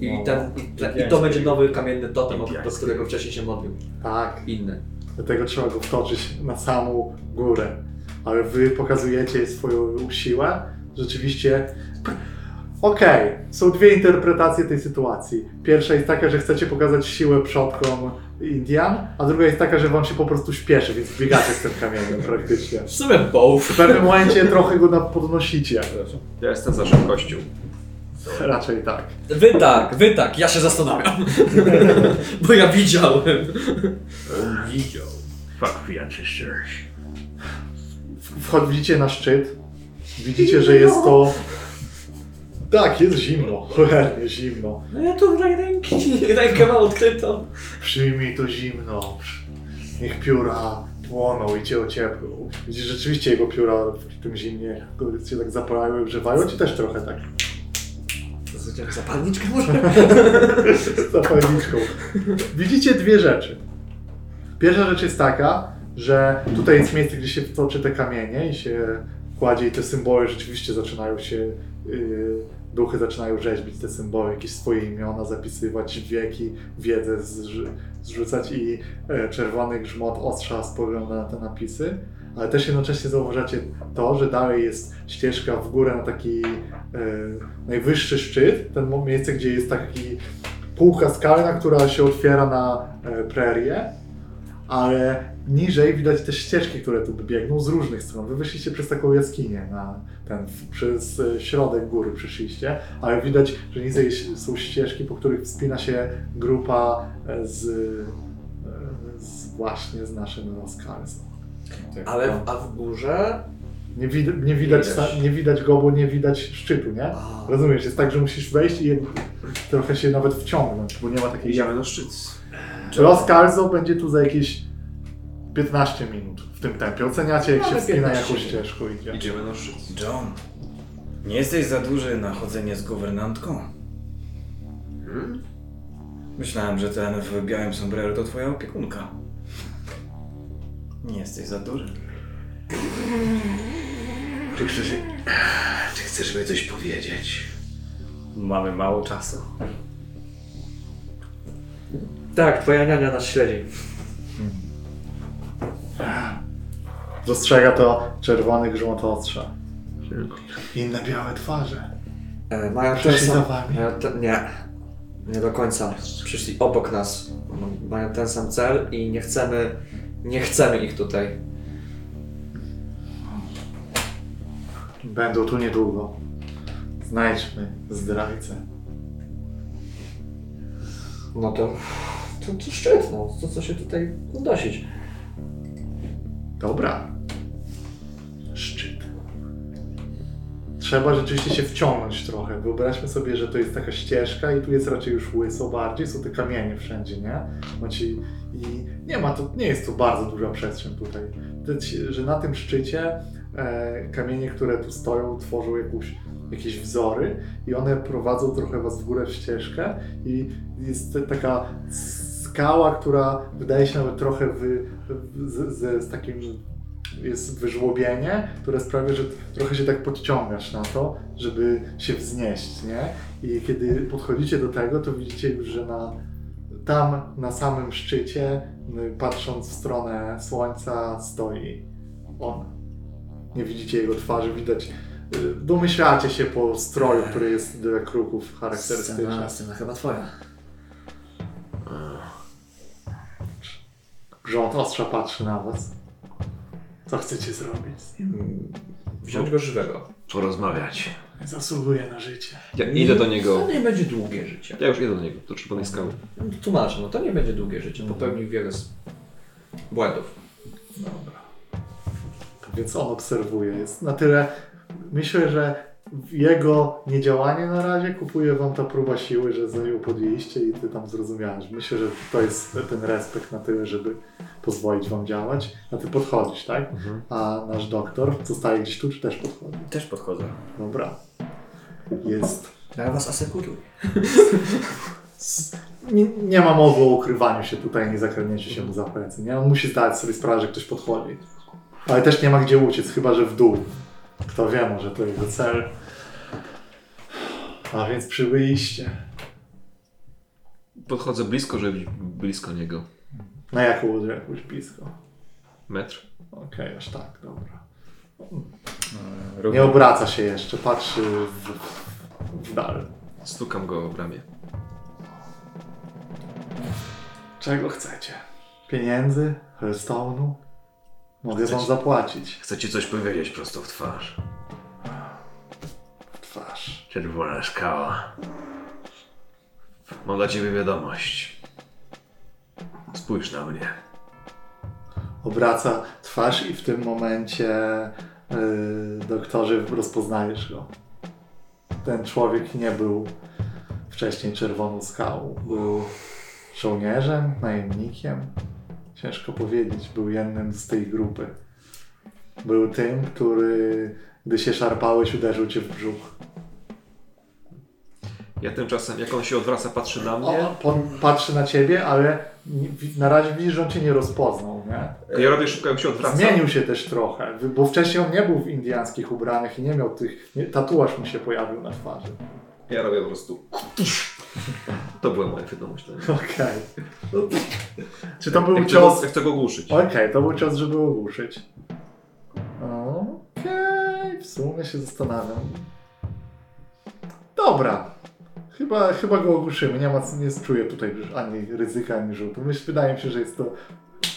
I,
No.
ten, i, te- I to
Indiański.
będzie nowy kamienny totem, o- do
Indiański.
którego wcześniej się modlił.
Tak,
Inny.
dlatego trzeba go wtoczyć na samą górę. ale wy pokazujecie swoją siłę. Rzeczywiście. Okej, są dwie interpretacje tej sytuacji. Pierwsza jest taka, że chcecie pokazać siłę przodkom Indian, a druga jest taka, że wam się po prostu śpieszy, więc biegacie z tym kamieniem praktycznie.
W sumie both.
W pewnym momencie trochę go na- podnosicie.
Ja jestem za szybkością.
Raczej tak.
Wy tak, wy tak, ja się zastanawiam. Bo ja widziałem.
On widział. Fuck me, czyszczysz.
Wchodzicie na szczyt. Widzicie, że jest to. Tak, jest zimno. Cholernie zimno.
No ja tu tutaj ręki, rękę mam odkrytą.
Przyjmij to zimno. Niech pióra płoną i cię ocieplą. Widzisz, rzeczywiście jego pióra w tym zimnie się tak zapalają i ogrzewają ci też trochę tak
Zapalniczkę może?
zapalniczką. Widzicie dwie rzeczy. Pierwsza rzecz jest taka, że tutaj jest miejsce, gdzie się toczy te kamienie i się kładzie i te symbole rzeczywiście zaczynają się, yy, duchy zaczynają rzeźbić te symbole, jakieś swoje imiona zapisywać, wieki, wiedzę zrzu- zrzucać i e, czerwony grzmot ostrza spogląda na te napisy. Ale też jednocześnie zauważacie to, że dalej jest ścieżka w górę na taki e, najwyższy szczyt, ten mo- miejsce, gdzie jest taki półka skalna, która się otwiera na e, prerię, ale niżej widać te ścieżki, które tu biegną z różnych stron. Wy wyszliście przez taką jaskinię, na ten, w- przez e, środek góry przyszliście, ale widać, że niżej ś- są ścieżki, po których wspina się grupa e, z, e, z właśnie z naszym Roskarstwem.
Tak.
Ale a w górze?
Nie, wid- nie, widać,
Widać.
sta- nie widać go, bo nie widać szczytu, nie?
A.
Rozumiesz, jest tak, że musisz wejść i trochę się nawet wciągnąć, bo nie ma takiej
Idziemy na szczyt.
Los Calzo będzie tu za jakieś 15 minut w tym tempie. Oceniacie, jak się wspina jakąś ścieżką idzie.
Idziemy na szczyt.
John, nie jesteś za duży na chodzenie z guwernantką?
Hmm?
Myślałem, że ten w białym sombrero to twoja opiekunka. Nie jesteś za duży.
Czy chcesz, czy chcesz mi coś powiedzieć?
Mamy mało czasu.
Tak, twoja niania nas śledzi.
Dostrzega to czerwony grzmot ostrza. Inne białe twarze.
E, mają ten
Przyszli za
sam...
wami.
Mają te... Nie. Nie do końca. Przyszli obok nas. M- Mają ten sam cel i nie chcemy... Nie chcemy ich tutaj.
Będą tu niedługo. Znajdźmy zdrajcę.
No to... To, to szczyt, no. To co się tutaj udosić.
Dobra. Szczyt. Trzeba rzeczywiście się wciągnąć trochę. Wyobraźmy sobie, że to jest taka ścieżka i tu jest raczej już łyso bardziej, są te kamienie wszędzie, nie? Znaczy, i nie ma to, nie jest to bardzo duża przestrzeń tutaj. Te ci- Że na tym szczycie e, kamienie, które tu stoją, tworzą jakąś, jakieś wzory i one prowadzą trochę was w górę w ścieżkę i jest te- taka skała, która wydaje się nawet trochę wy, z, z, z takim jest wyżłobienie, które sprawia, że trochę się tak podciągasz na to, żeby się wznieść, nie? I kiedy podchodzicie do tego, to widzicie już, że na, tam na samym szczycie, y, patrząc w stronę słońca, stoi on. Nie widzicie jego twarzy, widać. y, Domyślacie się po stroju, który jest dla kruków
Tak,
charakterystyczny.
Scena, scena chyba twoja.
Grząd ostrza patrzy na was. Co chcecie zrobić? z nim?
Mm,
Wziąć go żywego.
Porozmawiać.
Zasługuje na życie.
Ja idę do niego.
To nie będzie długie życie.
Ja już idę do niego, do czerwonej skały.
Tłumaczę, no to nie będzie długie życie. Popełnił wiele z... błędów.
Więc on obserwuje. Jest na tyle. Myślę, że jego niedziałanie na razie kupuje wam ta próba siły, że za nią podjęliście i ty tam zrozumiałeś. Myślę, że to jest ten respekt na tyle, żeby pozwolić wam działać. A ty podchodzisz, tak? A nasz doktor zostaje gdzieś tu, czy też podchodzi?
Też podchodzę.
Dobra. Jest.
Ja was asekuruję.
s- Nie, nie ma mowy o ukrywaniu się tutaj, nie zakręciu się mu za plecy. Nie? On musi zdać sobie sprawę, że ktoś podchodzi. Ale też nie ma gdzie uciec, chyba że w dół. Kto wie, może to jego cel. A więc przybyliście.
Podchodzę blisko, żeby być blisko niego.
Na jaką jakąś blisko.
Metr.
Okej, aż tak, dobra. Nie obraca się jeszcze, patrzy w, w dal.
Stukam go o ramię.
Czego chcecie? Pieniędzy? Hearthstone'u? Mogę wam zapłacić.
Chcę ci coś powiedzieć prosto w twarz.
W twarz.
Czerwona skała. Mam dla ciebie wiadomość. Spójrz na mnie.
Obraca twarz i w tym momencie yy, doktorze rozpoznajesz go. Ten człowiek nie był wcześniej czerwoną skałą. Był żołnierzem, najemnikiem. Ciężko powiedzieć, był jednym z tej grupy. Był tym, który gdy się szarpałeś, uderzył cię w brzuch.
Ja tymczasem, jak on się odwraca, patrzy na mnie.
O, on patrzy na ciebie, ale nie- wi- na razie widzisz, że on cię nie rozpoznał, nie?
Ja robię szybko, jak się odwraca.
Zmienił się też trochę, wy- bo wcześniej on nie był w indiańskich ubraniach i nie miał tych... Nie, tatuaż mu się pojawił na twarzy.
Ja robię po prostu. To była moja wiadomość.
Okej. Czy to
Ja
był
chcę, go,
cios...
ja chcę go ogłuszyć.
Okej, to był cios, żeby ogłuszyć. Okej, w sumie się zastanawiam. Dobra. Chyba, chyba go ogłuszymy, nie ma, nie czuję tutaj ani ryzyka, ani rzutu. Myślę, wydaje mi się, że jest to...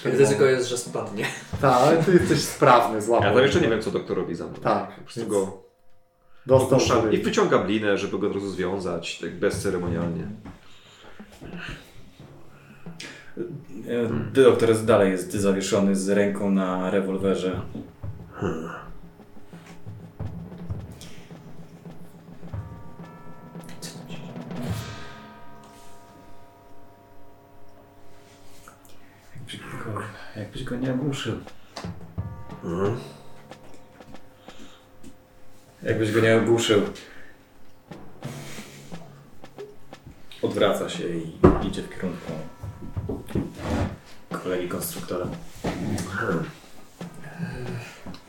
Ryzyko jest, że spadnie.
Tak, ale ty jesteś sprawny, złapał.
Ja tam jeszcze nie wiem, co doktor robi za mną.
Tak,
Po prostu
więc
go
dostał
ogłuszam i
żywy.
wyciągam linę, żeby go od razu związać, tak bezceremonialnie.
E, Doktor jest- dalej jest zawieszony z ręką na rewolwerze.
Jakbyś go, jakbyś go nie ogłuszył.
Mhm.
Jakbyś go nie ogłuszył. Odwraca się i idzie w kierunku kolegi konstruktora.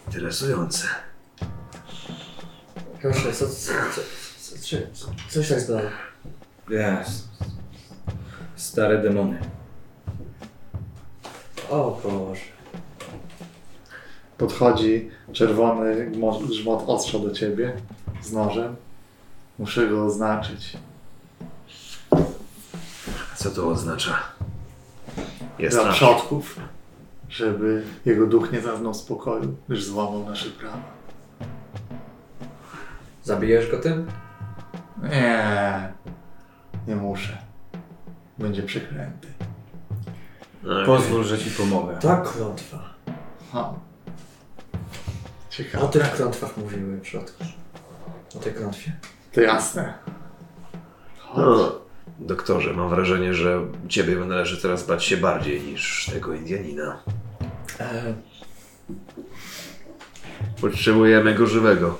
Interesujące.
Proszę, co, co, co, co, czy- co, coś tak zbadało.
Yes. Stare demony.
O Boże.
Podchodzi czerwony gmo- grzmot ostrza do ciebie z nożem. Muszę go oznaczyć.
Co to oznacza? Jest
Dla
nasz.
przodków, żeby jego duch nie zaznał spokoju, gdyż złamał nasze prawa.
Zabijesz go tym?
Nie, nie muszę. Będzie przekręty.
No,
Pozwól, że ci
Tak.
pomogę.
Ta klątwa.
Ha.
O
Tak,
Ciekawe.
tych klątwach mówiły w środku. O tej klątwie.
To jasne. Chodź.
No, doktorze, mam wrażenie, że ciebie należy teraz bać się bardziej niż tego Indianina. E. Potrzebujemy go żywego.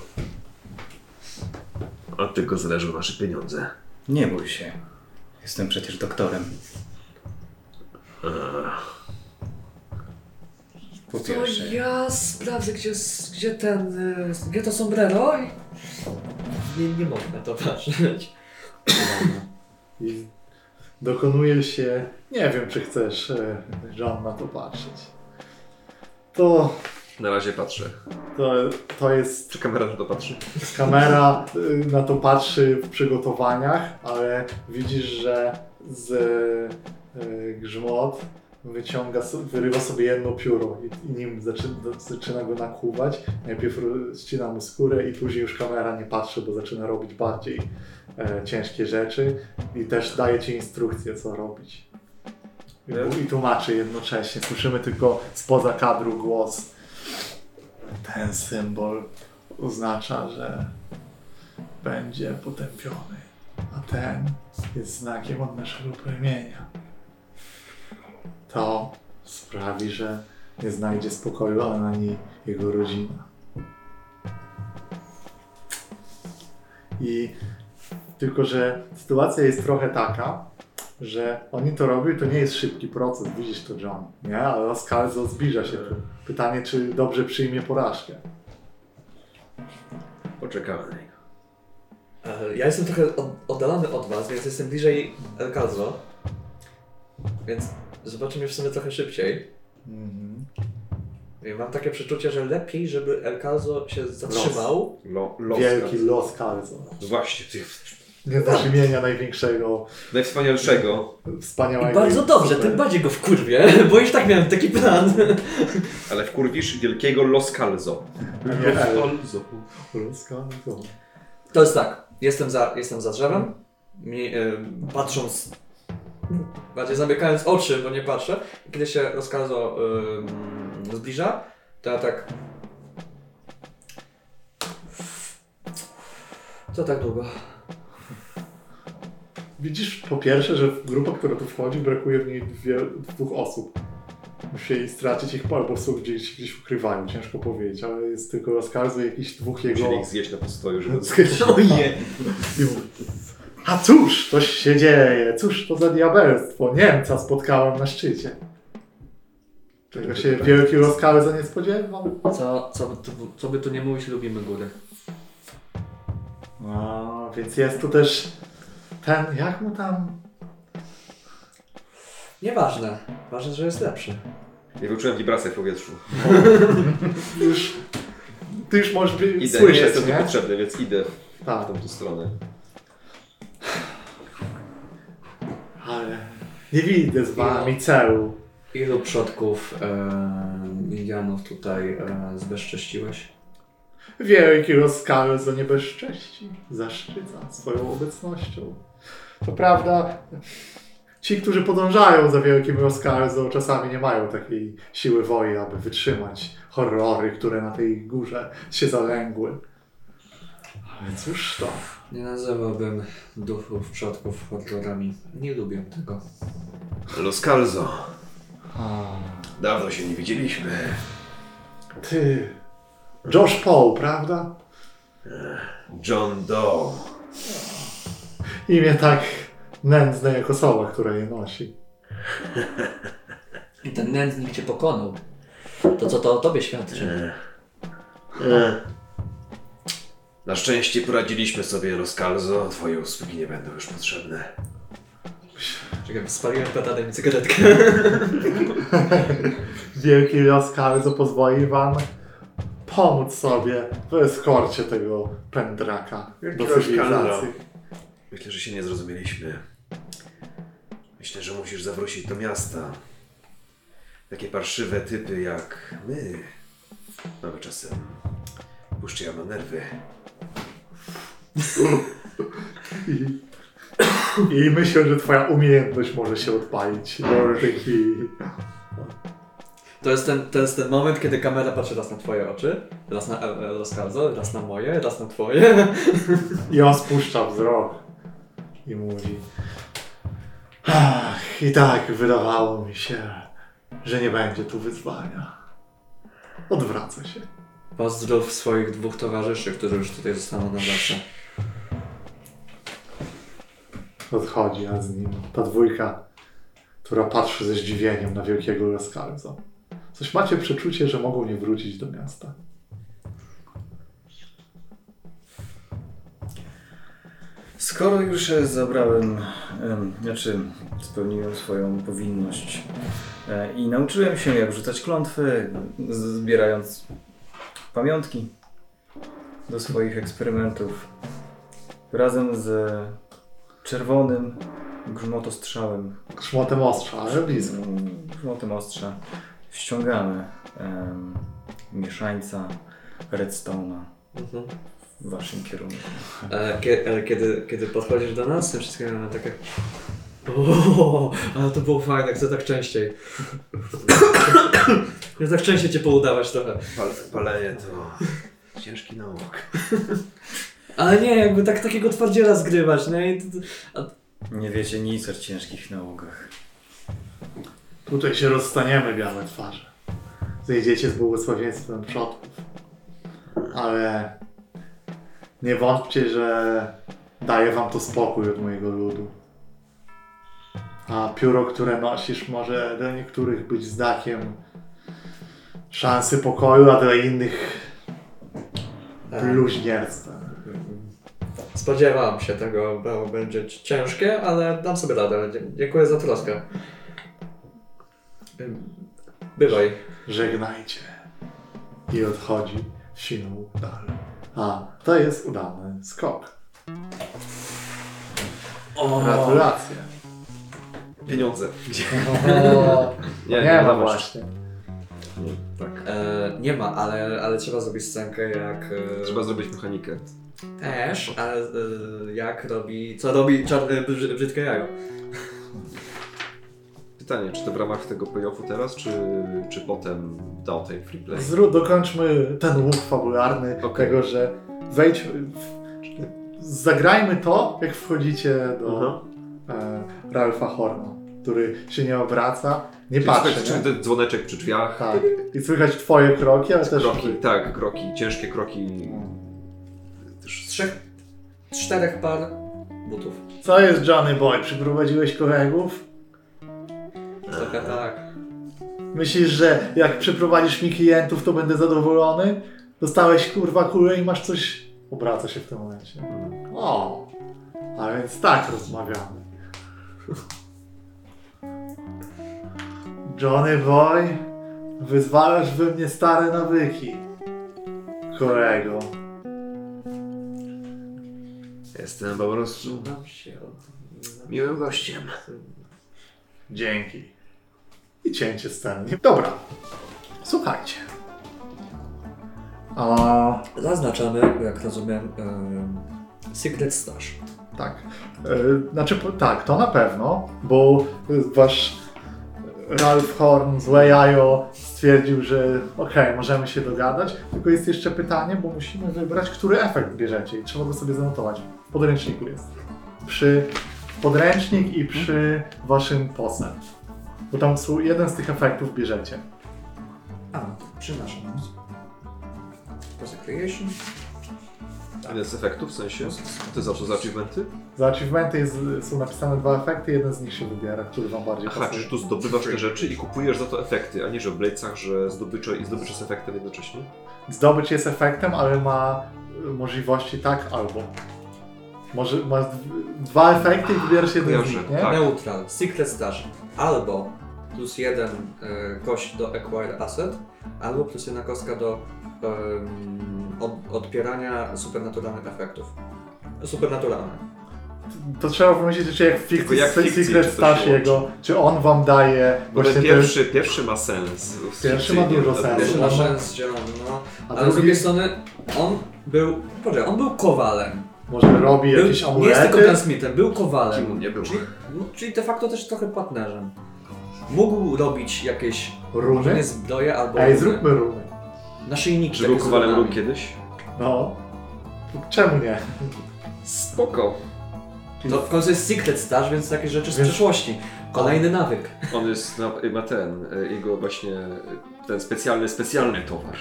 Od tego zależą nasze pieniądze.
Nie bój się. Jestem przecież doktorem. Po
To
pierwsze.
ja sprawdzę, gdzie, s- gdzie ten. y, Gdzie to sombrero i. Nie, nie mogę na to patrzeć.
I dokonuje się. Nie wiem, czy chcesz, e, Jean, na to patrzeć. To,
Na razie patrzę.
to, to jest
Czy kamera na to patrzy?
kamera, y, na to patrzy w przygotowaniach, ale widzisz, że z y, grzmot wyciąga, so- wyrywa sobie jedno pióro i, i nim zaczyna, zaczyna go nakuwać. Najpierw ro- ścina mu skórę i później już kamera nie patrzy, bo zaczyna robić bardziej e, ciężkie rzeczy i też daje ci instrukcję, co robić. I, i tłumaczy jednocześnie. Słyszymy tylko spoza kadru głos. Ten symbol oznacza, że będzie potępiony, a ten jest znakiem od naszego plemienia. To sprawi, że nie znajdzie spokoju ani jego rodzina. I tylko, że sytuacja jest trochę taka, że oni to robią i to nie jest szybki proces, widzisz to John, nie? Ale Oscarzo zbliża się. tu. Pytanie, czy dobrze przyjmie porażkę.
Poczekamy na niego.
E, Ja jestem trochę od, oddalony od was, więc jestem bliżej El Cazo. Więc zobaczymy w sumie trochę szybciej.
Mhm.
I Mam takie przeczucie, że lepiej, żeby Elkazo się zatrzymał.
Lo, los
Wielki los Carlson.
Właśnie, ty,
Nie znasz imienia największego,
najwspanialszego,
wspaniałego.
I bardzo
i
dobrze,
super-
tym bardziej go wkurwię, bo już tak miałem taki plan.
ale wkurwisz wielkiego Los Calzo.
Nie, Los Carlson.
To jest tak, jestem za, jestem za drzewem, mniej, e, patrząc, bardziej zamykając oczy, bo nie patrzę. Kiedy się Roskazo y, zbliża, to ja tak... Co tak długo?
Widzisz po pierwsze, że grupa, która tu wchodzi, brakuje w niej dwie, dwóch osób. Musieli stracić ich paru, bo są gdzieś, gdzieś w ukrywaniu, ciężko powiedzieć, ale jest tylko rozkazu jakichś dwóch jego...
Musieli ich zjeść na postoju, żeby...
I mówi, A cóż, coś się dzieje, cóż to za diabelstwo, Niemca spotkałem na szczycie. Tego się wielki rozkały za nie spodziewał.
Co, co, by tu- co by tu nie mówić, lubimy góry.
A, No, więc jest tu też ten, jak mu tam...
Nieważne, ważne, że jest lepszy.
Ja wyczułem wibrację w powietrzu.
Już... Ty już możesz by-
Idę, nie
słyszeć,
jestem tu
nie?
potrzebny, więc idę w
Tak,
tamtą stronę.
ale nie widzę z wami celu.
Ilu przodków e, Janów tutaj e, zbezcześciłeś?
Wielki rozkały za niebezcześci zaszczyca swoją obecnością. To prawda, ci, którzy podążają za wielkim rozkazą, czasami nie mają takiej siły woli, aby wytrzymać horrory, które na tej górze się zalęgły. Ale cóż to?
Nie nazywałbym duchów przodków horrorami. Nie lubię tego.
Los Calzo. Dawno się nie widzieliśmy.
Ty, Josh Paul, prawda?
John Doe.
Imię tak nędzne jak osoba, która je nosi.
I ten nędznik cię pokonał. To co to o tobie świadczy?
E. Na szczęście poradziliśmy sobie, Los Calzo. Twoje usługi nie będą już potrzebne.
Czekaj, spaliłem petadę i cygaretkę.
Wielki los Karzo pozwoli wam pomóc sobie w eskorcie tego pędraka do
los
cywilizacji.
Carzo. Myślę, że się nie zrozumieliśmy. Myślę, że musisz zawrócić do miasta. Takie parszywe typy jak my mamy czasem puszczają na nerwy.
I, I myślę, że twoja umiejętność może się odpalić. Taki...
To jest, ten, to jest ten moment, kiedy kamera patrzy raz na twoje oczy, raz na Roskarzo, raz na moje, raz na twoje.
I on spuszcza wzrok i mówi Ach, i tak wydawało mi się, że nie będzie tu wyzwania. Odwraca się.
Pozdrów swoich dwóch towarzyszy, którzy już tutaj zostaną na zawsze.
Odchodzi, a z nim ta dwójka, która patrzy ze zdziwieniem na wielkiego Raskalza. Coś macie przeczucie, że mogą nie wrócić do miasta.
Skoro już e, zabrałem, em, znaczy spełniłem swoją powinność e, i nauczyłem się jak rzucać klątwy, z- zbierając pamiątki do swoich eksperymentów razem z czerwonym grzmotostrzałem,
Krzmotem ostrza, ale blisko.
Mm, grzmotem ostrza, ściągamy em, mieszańca redstone'a w waszym kierunku.
Ale, kie- ale kiedy, kiedy podchodzisz do nas, tym wszystkim mamy takie... Ooo, ale to było fajne, chcę tak częściej. Chcę tak częściej cię poudawać trochę.
Pal, palenie to ciężki nauk.
Ale nie, jakby tak takiego twardziela zgrywać, nie? I to,
Nie wiecie nic o ciężkich nałogach.
Tutaj się rozstaniemy, białe twarze. Zejdziecie z błogosławieństwem przodków. Ale nie wątpcie, że daję wam to spokój od mojego ludu. A pióro, które nosisz, może dla niektórych być znakiem szansy pokoju, a dla innych
Tak.
E,
bluźnierstwem.
Spodziewałam się tego, bo będzie ci- ciężkie, ale dam sobie radę. Dzie- Dziękuję za troskę. Ym, Bywaj.
Żegnajcie. i odchodzi w siną dal. A to jest udany skok. Gratulacje.
Pieniądze.
Nie, nie,
nie
ma
masz.
właśnie.
E, nie ma, ale, ale trzeba zrobić scenkę jak... E,
Trzeba zrobić mechanikę.
Też, ale e, jak robi... Co robi czar, e, brzy, brzydkie jajo?
Pytanie, czy to w ramach tego payoffu teraz, czy, czy potem dał tej free play?
Zrób, dokończmy ten łuk fabularny,
Okej.
tego, że wejdź, w- zagrajmy to, jak wchodzicie do
Mhm.
e, Ralfa Horna, który się nie obraca, nie patrzy.
Słychać,
nie?
czy ten dzwoneczek przy drzwiach,
Tak. I słychać twoje kroki, ale też...
kroki, tak, kroki, ciężkie kroki.
Z trzech, czterech par butów.
Co jest Johnny Boy? Przyprowadziłeś kolegów?
Trochę tak.
Myślisz, że jak przyprowadzisz mi klientów, to będę zadowolony? Dostałeś kurwa kulę i masz coś... Obraca się w tym momencie. O! A więc tak rozmawiamy. Johnny Boy, wyzwalasz we mnie stare nawyki. Kolego.
Jestem po prostu
Nam się od...
miłym gościem.
Dzięki. I cięcie sceny. Dobra. Słuchajcie. A,
Zaznaczamy, jak rozumiem, e, Secret Stash.
tak. E, Znaczy, po- tak, to na pewno, bo e, wasz Ralph Horn, złe jajo, stwierdził, że okej, możemy się dogadać, tylko jest jeszcze pytanie, bo musimy wybrać, który efekt bierzecie i trzeba go sobie zanotować. W podręczniku jest. Przy podręcznik i przy waszym posem. Bo tam są- jeden z tych efektów bierzecie.
A, przynoszę nam. Poza creation.
Ile z efektów, w sensie? To za to za achievementy?
Za achievementy jest, są napisane dwa efekty, jeden z nich się wybiera, który wam bardziej
Aha,
pasuje.
czyli tu zdobywasz te rzeczy i kupujesz za to efekty, a nie, że w Bladesach, że zdobycze i zdobycze z efektem jednocześnie?
Zdobyć jest efektem, ale ma y, możliwości tak albo. Może masz d- dwa efekty i wybierasz jeden z
kojarzę,
nich, nie?
tak.
Neutral, Secret Stash. Albo plus jeden e, kość do Acquire Asset, albo plus jedna kostka do em, od, odpierania supernaturalnych efektów. Supernaturalne.
To trzeba pomyśleć, czy jak w fikcji,
Tylko jak
jak
w fikcji,
Secret
czy to się
Stash jego, czy on wam daje
Bo ten
właśnie
pierwszy, pierwszy ma sens.
Pierwszy ma dużo
A-
sensu.
Pierwszy ma
no.
sens zielony, no.
A
Ale z
drugi
drugiej strony on był, poczekaj, on był kowalem.
ten, może robi
Był,
jakieś
nie jest tylko
amulety.
transmitem, był kowalem.
Kim on nie był?
Czyli, no, czyli de facto też trochę partnerzem. Mógł robić jakieś może
Runy?
nie zbroje albo
Ej, zróbmy runy.
naszyjniki.
Że był
takie z
kowalem
runami.
był kiedyś?
No. Czemu nie?
Spoko.
To w końcu jest Secret Stash, więc takie rzeczy z
Więc-
przeszłości. Kolejny nawyk.
On jest, na, ma ten, y, jego właśnie, y, ten specjalny, specjalny towar.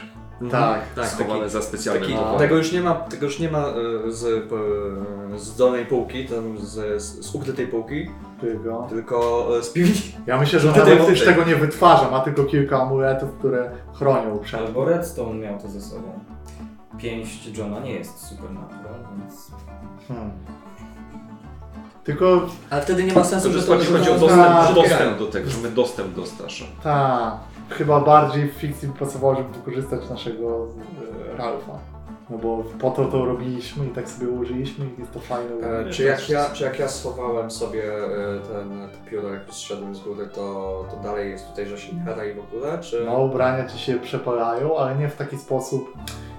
Tak.
Tak,
Schowany za specjalny
taki,
towar.
No.
taki, tego już nie ma, tego już nie ma e, z, e, z dolnej półki, tam z, z, z ukrytej półki,
Tylko.
tylko e, z piwnicy.
Ja myślę, że on
Tutaj-
nawet już
tutaj.
tego nie wytwarza, ma tylko kilka amuletów, które chronią przed
Albo Redstone miał to ze sobą. Pięść Johna nie jest supernatural, więc...
Hmm. Tylko
Ale wtedy nie znaczy- ma sensu,
Że
że to
chodzi, chodzi o
to-
dostęp,
tak.
dostęp do tego, żeby dostęp do Stasza.
ta chyba bardziej w fikcji by pasowało, żeby wykorzystać naszego e, Ralfa. No bo po to to robiliśmy i tak sobie ułożyliśmy i jest to fajne.
E, czy, jak ja, czy jak ja schowałem sobie e, ten pióro, jak już zszedłem z góry, to, to dalej jest tutaj Josinkara i w ogóle, czy...
No ubrania ci się przepalają, ale nie w taki sposób.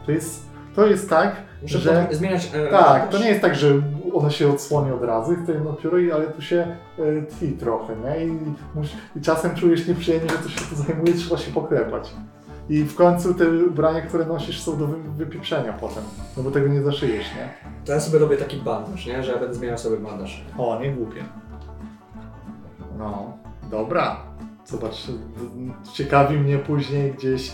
To jest, to jest tak,
Muszę
że...
potem zmieniać... e,
Tak, to nie jest tak, że ono się odsłoni od razu i wtedy jedno pióro, i- ale tu się e, tli trochę, nie? I, mus- I czasem czujesz nieprzyjemnie, że coś się tu zajmuje, trzeba się poklepać. I w końcu te ubrania, które nosisz, są do wy- wypieprzenia potem, no bo tego nie zaszyjesz, nie?
To ja sobie robię taki bandaż, nie? Że ja będę zmieniał sobie bandaż.
O, nie głupie. No, dobra. Zobacz, d- d- ciekawi mnie później gdzieś,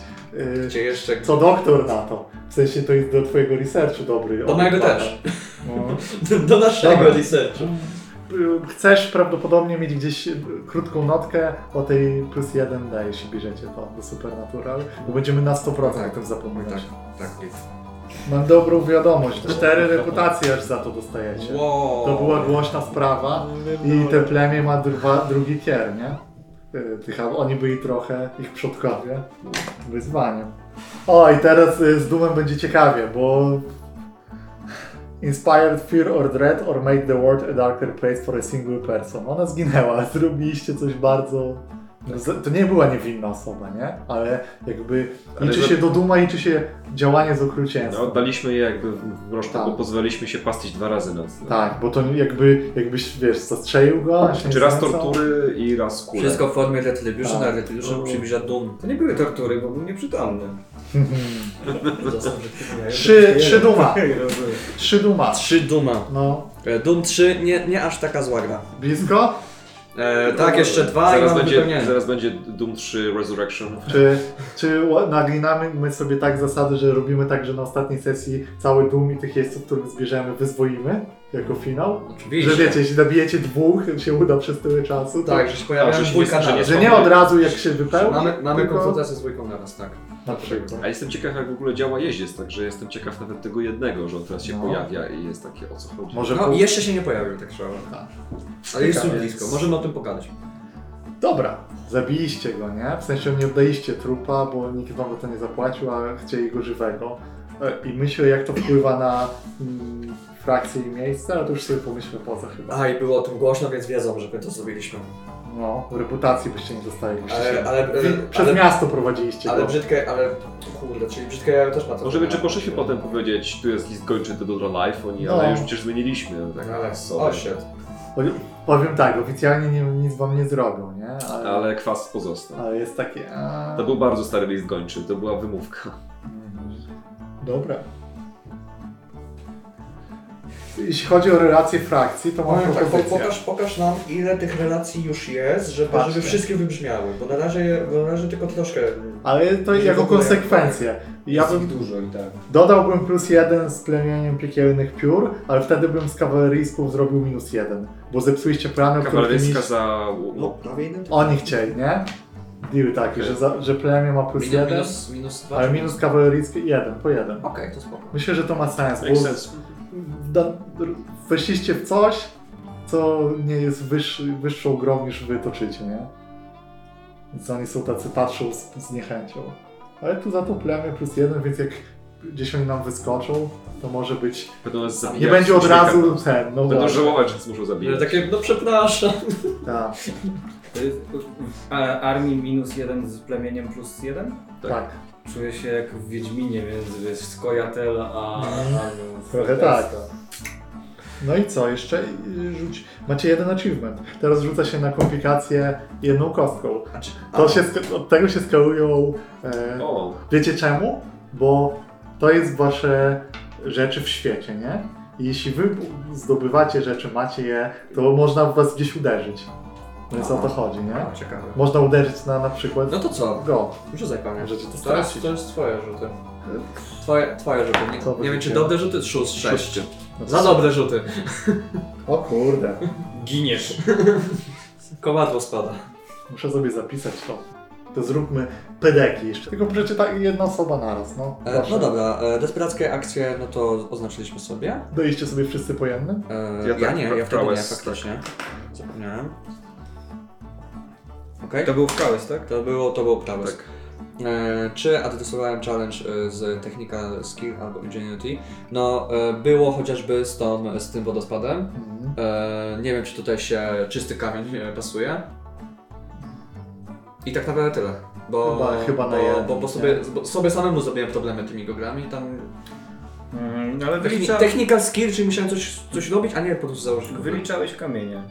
e,
Gdzie jeszcze...
co doktor na to. W sensie to jest do twojego researchu dobry.
Do
On
mojego
bada.
też.
No.
Do, do naszego
Dobra.
researchu.
Y, chcesz prawdopodobnie mieć gdzieś y, krótką notkę o tej plus jeden daje, jeśli bierzecie to do Supernatural, bo będziemy na 100% o tym zapominać.
Tak, tak.
Mam dobrą wiadomość, cztery reputacje aż za to dostajecie.
Wow.
To była głośna sprawa
No.
i te plemię ma dwa, drugi tier, nie? Y, Tych, oni byli trochę, ich przodkowie, wyzwaniem. O, i teraz y, z Doomem będzie ciekawie, bo... Inspired Fear or Dread or Made the World a Darker Place for a Single Person. Ona zginęła, zrobiliście coś bardzo... no, z- To nie była niewinna osoba, nie? Ale jakby
Ale
liczy
za-
się do Duma, liczy się działanie z okrucieństwem.
No, oddaliśmy je jakby w mrożku,
Tak.
bo pozwoliliśmy się pastić dwa razy na
Tak, bo to jakby, jakbyś, wiesz, zastrzelił go, a się
Czy
nie
raz
znęcał?
tortury i raz kule.
Wszystko w formie Retribution,
Tak.
a Retribution przybliża dum.
To nie były tortury, bo był nieprzytomny.
Mhm.
Został, że ty miałeś.
Trzy, trzy Duma,
Rozumiem.
trzy Duma.
Trzy Duma.
No,
E, Doom 3 nie, nie aż taka zła gra.
blisko?
E,
No,
tak, jeszcze dwa i
zaraz
mam
będzie,
wypełnienie.
zaraz będzie Doom 3 Resurrection.
Czy, czy ła- naglinamy my sobie tak zasady, że robimy tak, że na ostatniej sesji cały Doom i tych jeźdźców, których zbierzemy, wyzwoimy jako finał?
Oczywiście.
Że wiecie, jeśli nabijecie dwóch, się uda przez tyle czasu, to,
Tak, że się
A,
pojawiają
że się
dwójka
nie- że nie-
naraz.
że nie od razu jak się wypełni,
Mamy, mamy
tylko
konfrontację z dwójką naraz, tak.
na przykład.
A jestem ciekaw, jak w ogóle działa jeździec, także jestem ciekaw nawet tego jednego, że on teraz się
No.
pojawia i jest takie o co chodzi.
Może
No,
pół-
jeszcze się nie pojawił tak szalony.
Tak.
Ale jest tu
Ciekawe.
blisko, możemy o tym pogadać.
Dobra, zabiliście go, nie? W sensie nie oddaliście trupa, bo nikt wam za to nie zapłacił, a chcieli go żywego. E, I myślę, jak to wpływa na mm, frakcję i miejsce, ale to już sobie pomyślmy poza chyba.
A, i było o tym głośno, więc wiedzą, że my to zrobiliśmy.
No, reputacji byście nie dostali.
Ale,
Ale,
ale, ale,
Przez
ale,
miasto prowadziliście
ale
go.
brzydkie, ale kurde, czyli brzydkie jajo też ma to.
Możemy czy poszliśmy potem powiedzieć, tu jest list gończy do Dodra Life, oni,
No.
ale już przecież zmieniliśmy. Tak,
No, Ale,
sorry.
o shit.
O- Powiem tak, oficjalnie nie, nic wam nie zrobią, nie? Ale, ale...
ale kwas pozostał.
jest takie... A...
To był bardzo stary list gończy, to była wymówka.
Mhm. Dobra. Jeśli chodzi o relacje frakcji, to mam
Powiem tak, po,
propozycję.
pokaż, pokaż nam ile tych relacji już jest, żeby,
Patrzę.
żeby wszystkie wybrzmiały, bo na razie, bo na razie tylko troszkę.
Ale to
Że w
jako
ogóle- tak.
konsekwencję. Ja
Jest ich
bym
dużo i tak.
dodałbym plus jeden z plemieniem piekielnych piór, ale wtedy bym z kawaleryjską zrobił minus jeden, bo zepsuliście plany, o których
Kawaleryjska
mieliście...
za... No.
prawie identyczne.
Oni chcieli, nie? Deal taki, że, za, że plemię ma plus
Minus,
jeden,
minus, minus dwa.
ale
czy
minus kawaleryjski jeden, po jeden.
Okej, to spoko.
Myślę, że to ma sens,
Make
bo
sense.
da, weszliście w coś, co nie jest wyższy, wyższą grą niż wy toczycie, nie? Więc oni są tacy, patrzą z, z niechęcią. Ale tu za to plemię plus jeden, więc jak gdzieś oni nam wyskoczą, to może być...
Będą nas zabijać.
Nie będzie od
uśmiechem.
razu ten, no
Będą
właśnie.
żałować, że nas muszą
Ale
zabijać.
takie, no przepraszam.
Tak,
To jest w a- armii minus jeden z plemieniem plus jeden?
Tak.
tak.
Czuję się jak w Wiedźminie między wiesz, Skojatel a... a no,
Trochę tak. No i co, jeszcze Y, rzuć... Macie jeden achievement. Teraz rzuca się na komplikację jedną kostką. To się, sk- od tego się skalują... E,
O,
Wiecie czemu? Bo to jest wasze rzeczy w świecie, nie? I jeśli wy zdobywacie rzeczy, macie je, to można w was gdzieś uderzyć. Więc o to chodzi, nie?
A, ciekawe.
Można uderzyć na na przykład
No to co?
go.
Rzucaj panie.
Możecie to
To jest,
stracić.
to jest twoje rzuty. Twoje, twoje rzuty. Nie,
Co
nie wiem czy
wyrzuciłem?
dobre rzuty? Szóst, sześć.
No
Za dobre rzuty.
O kurde,
Giniesz.
Kowadło spada.
muszę sobie zapisać to. To zróbmy pedeki jeszcze. Tylko przeczyta jedna osoba naraz, no.
E,
Proszę.
no dobra, e, desperackie akcje, no to oznaczyliśmy sobie.
Daliście sobie wszyscy po jednym?
E,
Ja
ja,
tak,
nie,
pra-
ja wtedy nie,
prowess,
faktycznie. Zapomniałem. Okej,
To był wkałys, tak?
to było, to było prawe. E, czy adresowałem challenge e, z technika skill albo ingenuity? No, e, było chociażby z, tą, z tym wodospadem.
Mhm.
E, nie wiem, czy tutaj się czysty kamień e, pasuje. I tak naprawdę tyle. Bo,
Chyba- chyba na
bo,
jeden,
bo, bo, sobie, bo sobie samemu zrobiłem problemy tymi goglami i tam
Mm,
No
ale
Techni
wylicza...
technical skill, czyli musiałem coś, coś robić, a nie po prostu założyć kufel.
wyliczałeś kamienie.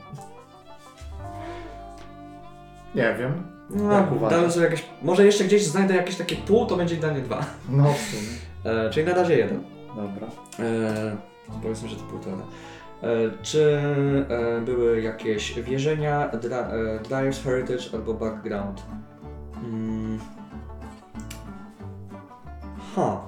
Nie wiem. jak
No,
uważasz?
dałem sobie jakieś, może jeszcze gdzieś znajdę jakieś takie pół, to będzie idealnie dwa.
No w sumie.
E, czyli na razie jeden.
Dobra.
E, powiedzmy, że to półtora. E, czy e, były jakieś wierzenia, dra, e, Dyer's Heritage albo Background? Hmm. Ha.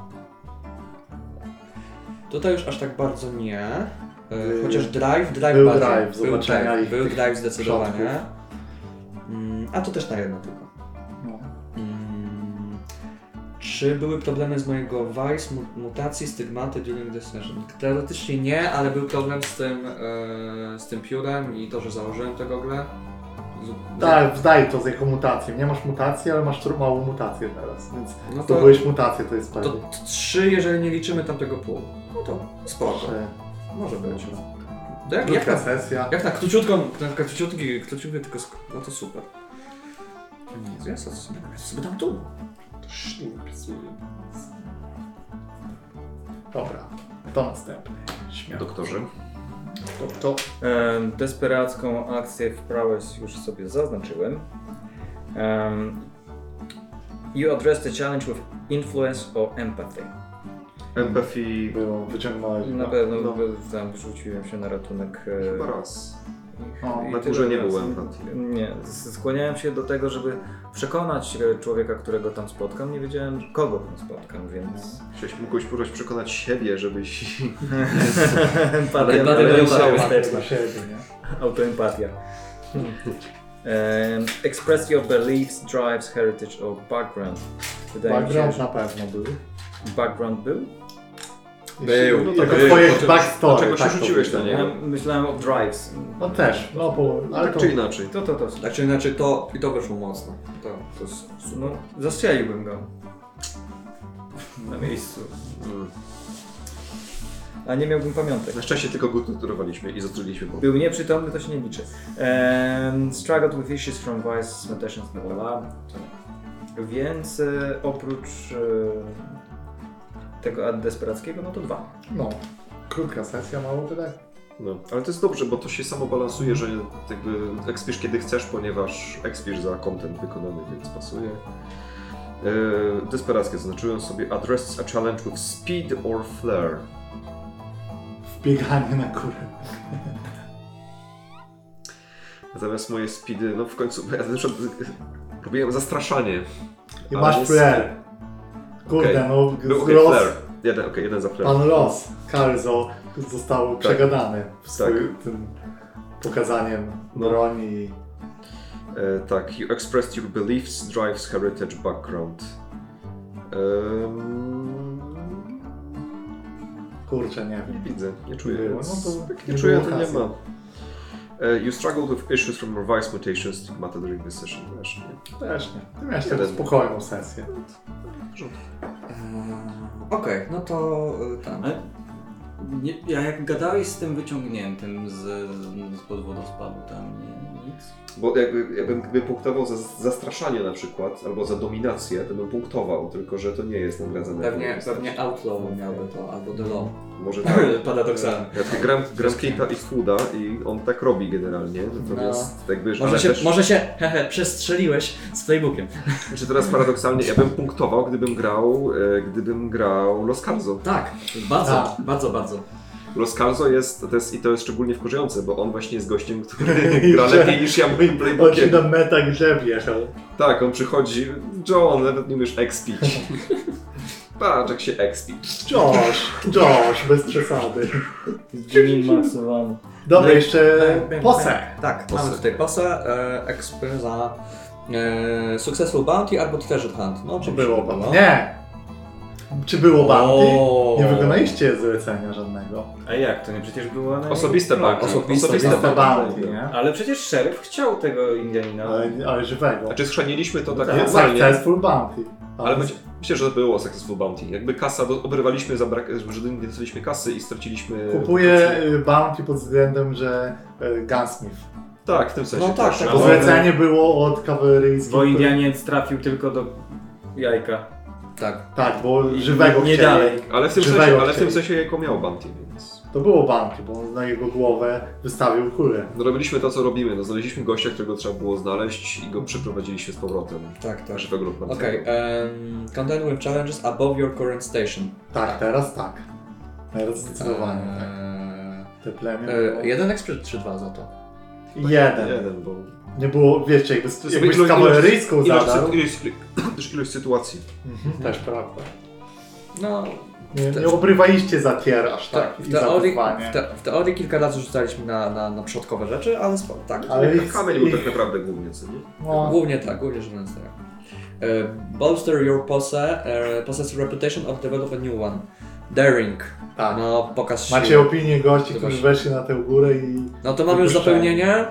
Tutaj już aż tak bardzo nie. E,
Był-
chociaż Drive, Drive
był
bardziej.
drive, zobaczenia
drive,
ich
Był
tych
Drive zdecydowanie.
przodków.
Mm, a to też na jedno tylko.
No.
Mm, Czy były problemy z mojego Vice, mu- mutacji, stygmaty during the session? Teoretycznie nie, ale był problem z tym, e, z tym piórem i to, że założyłem te gogle.
Tak, zdaje to z jej mutacją. Nie masz mutacji, ale masz tru- małą mutację teraz, więc
No
to
to,
byłeś mutację, to jest
to
pewnie.
trzy, jeżeli nie liczymy tamtego pół. No to spoko.
Że
Może być. No. To jak, jak,
Krótka
na,
sesja.
jak na króciutką, na króciutki, króciutki tylko sk- no to super. Jezu, ja sobie, sobie dam tu.
Dobra, to następny. Śmiało.
Doktorze.
To, to
Em, Desperacką akcję w prowess już sobie zaznaczyłem. Em, You address the challenge with influence or empathy.
Empathy
było, wyciągnąłeś.
Na
no,
pewno
no.
by- tam rzuciłem się na ratunek. e,
chyba raz.
ich-
O,
i
na
tyle
górze nie
razy.
było empatii.
Nie, z- skłaniałem się do tego, żeby przekonać e, człowieka, którego tam spotkam. Nie wiedziałem, kogo tam spotkam, więc.
Chciałeś mógłbyś próbować przekonać siebie, żebyś...
Empatia,
Empatia
ale
będzie
nie
działać.
wstecz.
Dla siebie, nie?
Autoempatia. Em, express your beliefs, drives, heritage or background. Wydaje mi
Background
się,
na pewno był.
że background był.
Był,
Jeśli- jako
był.
twoje
Dlaczego-
backstory.
dlaczego się
tak
rzuciłeś
powiem.
na niego?
Ja myślałem o drives.
No też, no bo, ale
Tak
to...
czy inaczej.
To, to, to.
Tak czy inaczej to i to wyszło mocno. To, to jest
No, zastrzeliłbym go. Na miejscu. A nie miałbym pamiątek.
Mm. Na szczęście tylko go torturowaliśmy i zatruliśmy go.
Był nieprzytomny, to się nie liczy. Em, struggled with issues from vice, cimentations, bla bla, bla. Więc e, oprócz e, tego ad desperackiego, no to dwa.
No, krótka sesja, mało tyle.
No. Ale to jest dobrze, bo to się samo balansuje, że jakby ekspisz kiedy chcesz, ponieważ ekspisz za content wykonany, więc pasuje. Yy, desperackie zaznaczyłem sobie address a challenge with speed or flair.
Wbieganie na górę.
Natomiast moje speedy, no w końcu, ja na przykład y, robiłem zastraszanie.
I
Ale
masz
jest-
flair. Kurde,
Okej.
no,
No
no
okej,
los,
flair. Jeden, okej, jeden za flair.
pan los, Kalzo został
Tak.
przegadany w swoim tym pokazaniem
No.
broni.
E, tak, you expressed your beliefs, drives, heritage, background. Ehm,
Kurczę, nie wiem.
nie widzę, nie czuję.
Było,
więc
no to
jak
nie
nie czuję,
było
to nie
hasła.
ma. E, you struggled with issues from revised mutations, stigmata during this session. Też nie.
Też nie. Ty miałeś taką
Jeden.
spokojną sesję.
Okej, no to y, tam.
Eee, Ale nie, ja jak gadałeś z tym wyciągniętym z, z pod wodospadu, tam nie, nic.
Bo jakby, jakbym gdyby punktował za zastraszanie na przykład, albo za dominację, to bym punktował, tylko że to nie jest nagradzane.
Pewnie, pewnie Outlaw miałby to, albo The Law.
Może tak.
Paradoksalnie.
Ja tylko gram, gram Cape'a i Fooda i on tak robi generalnie, natomiast
No.
jakby...
Może
ale
się,
też-
może się hehe, przestrzeliłeś z playbookiem.
Czy teraz paradoksalnie, ja bym punktował, gdybym grał, e, gdybym grał Los Calzo.
Tak, bardzo,
Tak.
bardzo, bardzo.
Los Calzo jest, to jest, i to jest szczególnie wkurzające, bo on właśnie jest gościem, który gra lepiej niż ja moim
On się
playbookiem.
na meta grze wjechał.
Tak, on przychodzi, John, nawet nie umiesz expić. Patrz jak się expi.
Josh, Josh, bez przesady.
Jimmy maksowany.
Dobra,
No i-
jeszcze
bang, bang,
posę.
Tak,
Posę.
mamy tutaj pasę, e, exp za e, Successful Bounty albo Treasure Hunt. No,
Czy
oczywiście,
było
no.
bounty? Nie. Czy było bounty?
O.
Nie wykonaliście zlecenia żadnego.
A jak to nie? Przecież była na
Osobiste banki.
Osobiste
Osobiste bounty, nie?
Ale przecież szeryf chciał tego Indianina.
Ale, ale żywego.
Znaczy schroniliśmy to tak
Jest
normalnie,
successful bounty.
ale myślę, myślę, że to było Successful Bounty. Jakby kasa, do, obrywaliśmy, za brak, że nie dostaliśmy kasy i straciliśmy...
Kupuję y, bounty pod względem, że y, Gunsmith.
Tak, w tym sensie
No tak,
też.
tak.
Bo
Ale-
zlecenie było od kawaleryjskich.
Bo
który-
Indianiec trafił tylko do jajka.
Tak.
Tak, bo
I
żywego
nie
chcieli.
dalej.
Ale w tym
Żywego
sensie, ale w
tak. chcieli.
tym sensie jako miał Bounty, więc...
To było bounty, bo on na jego głowę wystawił kulę.
No robiliśmy to, co robimy. No, znaleźliśmy gościa, którego trzeba było znaleźć i go przeprowadziliśmy z powrotem.
Tak, tak.
Żywego lub martwego.
Okej, em, contend with challenges above your current station.
Tak, teraz tak. Teraz zdecydowanie. tak. Te plemię.
E,
było-
e, jeden exp czy- czy dwa za to? e,
jeden.
Jeden, bo...
Nie było, wiecie, jakby z,
To jest
jakby z
ilość-
kawaleryjską
Ilość,
zadarł.
ilość, też ilość sytuacji.
Mhm, Też prawda.
No,
Nie,
Te-
nie obrywaliście za tier aż tak,
tak, w
i za
teorii,
wyzwanie.
w, te, w teorii kilka razy rzucaliśmy na, na, na przodkowe rzeczy, ale spo, tak.
Ale
Jak
ich-
Kamień był
ich-
tak naprawdę głównie, co nie?
no,
Głównie tak, głównie rzecz biorąc tak. E, bolster your posse, e, possess reputation or develop a new one. Daring.
tak.
No, pokaż siły.
Macie opinię gości,
To
którzy
właśnie.
weszli na tę górę i
No to mamy już
Wypuszczenie.
zapełnienie.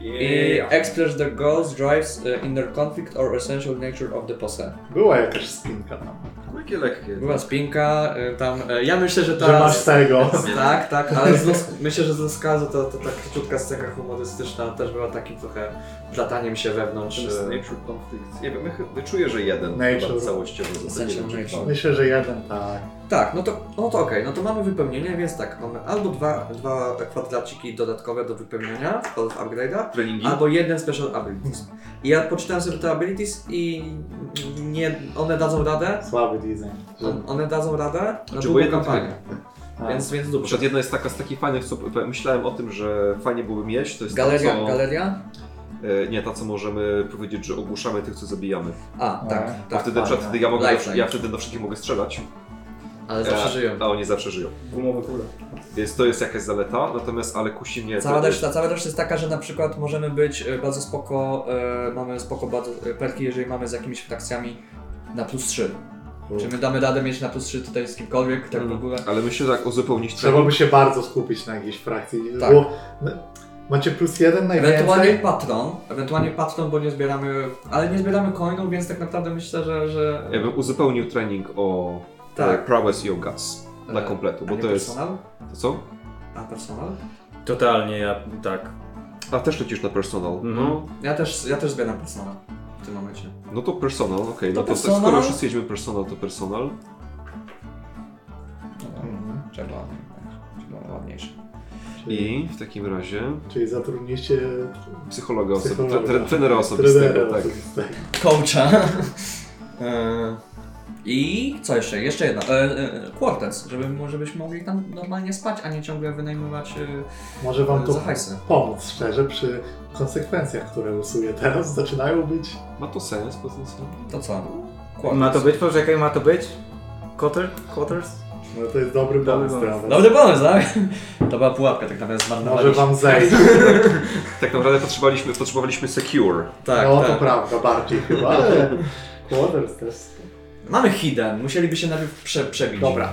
I explores the goals, drives uh, inner conflict or essential nature of the posse.
Była jakaś spinka tam.
Takie No, lekkie.
Była spinka, y, tam. y, Ja myślę, że ta.
Że masz tego.
Tak, tak, ale z los, myślę, że z Loskazu to, to tak króciutka scenka humorystyczna też była takim trochę plataniem się wewnątrz.
Czy...
y,
Nature Conflict. e, Nie wiem, ja chy- czuję, że jeden
Nature.
chyba całościowo zostanie
Essential
Nature
Nature.
Conflict.
Myślę, że jeden tak.
Tak, no to, no to okej, no to mamy wypełnienie, więc tak, mamy albo dwa, dwa kwadraciki dodatkowe do wypełnienia, do upgrade'a,
Treningi?
albo jeden special abilities. I ja poczytałem sobie te abilities i nie, one dadzą radę,
Słaby design.
on- one dadzą radę na
Znaczy, bo
długą
jeden
kampanię,
A,
więc, więc
Na
dobrze.
przykład jedna jest taka z takich fajnych, co myślałem o tym, że fajnie byłoby mieć, to jest
Galeria,
ta, co...
galeria?
E, Nie, ta co możemy powiedzieć, że ogłuszamy tych, co zabijamy.
A,
A.
tak,
A
tak,
wtedy, na przykład,
fajne.
wtedy ja, mogę,
Lifeline.
ja wtedy do wszystkich mogę strzelać,
ale zawsze żyją.
a oni zawsze żyją.
Gumowe kule.
Więc to jest jakaś zaleta, natomiast ale kusi mnie...
Cała
to,
reszta, cała reszta jest taka, że na przykład możemy być e, bardzo spoko, e, mamy spoko bardzo, e, perki, jeżeli mamy z jakimiś frakcjami na plus 3. Czy my damy radę mieć na plus 3 tutaj z kimkolwiek, tak w ogóle?
Ale myślę, że tak uzupełnić
Trzeba
trening.
by się bardzo skupić na jakiejś frakcji.
Tak.
Bo no, macie plus jeden
Ewentualnie
najwięcej.
patron, ewentualnie patron, bo nie zbieramy, ale nie zbieramy coinów, więc tak naprawdę myślę, że... że
Ja bym uzupełnił trening o
Tak.
e, prowess i o gaz dla
e,
kompletu,
a
bo
nie
to jest...
Personal?
To co?
A personal?
Totalnie, ja tak.
A też lecisz na personal.
Mhm.
Ja też, ja też zbieram personal w tym momencie.
No to personal, okej. No to, to
personal.
skoro wszyscy jedziemy personal, to personal.
Mhm.
Trzeba, trzeba ładniejszy.
Czyli,
I w takim razie
czyli zatrudniliście
psychologa,
Psychologa.
osobi- tre- tre- trenera osobistego,
trenera.
tak.
osobistego.
coacha. E, I co jeszcze? Jeszcze jedna. E, e, Quartets, żeby, mo- żebyśmy mogli tam normalnie spać, a nie ciągle wynajmować e,
Może wam
za
to
hajsy.
pomóc szczerze przy konsekwencjach, które usuje teraz. Zaczynają być
Ma to sens potencjalnie?
To co?
Ma to być? Poczekaj, ma to być? Kotter? Kotters?
No to jest dobry
Dobry
pomysł.
pomysł.
prawda?
Dobry pomysł, tak? To była pułapka tak naprawdę zmarnowana.
Może wam zejść.
Tak naprawdę potrzebowaliśmy, potrzebowaliśmy secure.
Tak,
no to
tak.
prawda, bardziej chyba, ale Waters też.
Mamy hidden, musieliby się najpierw prze, przebić.
Dobra,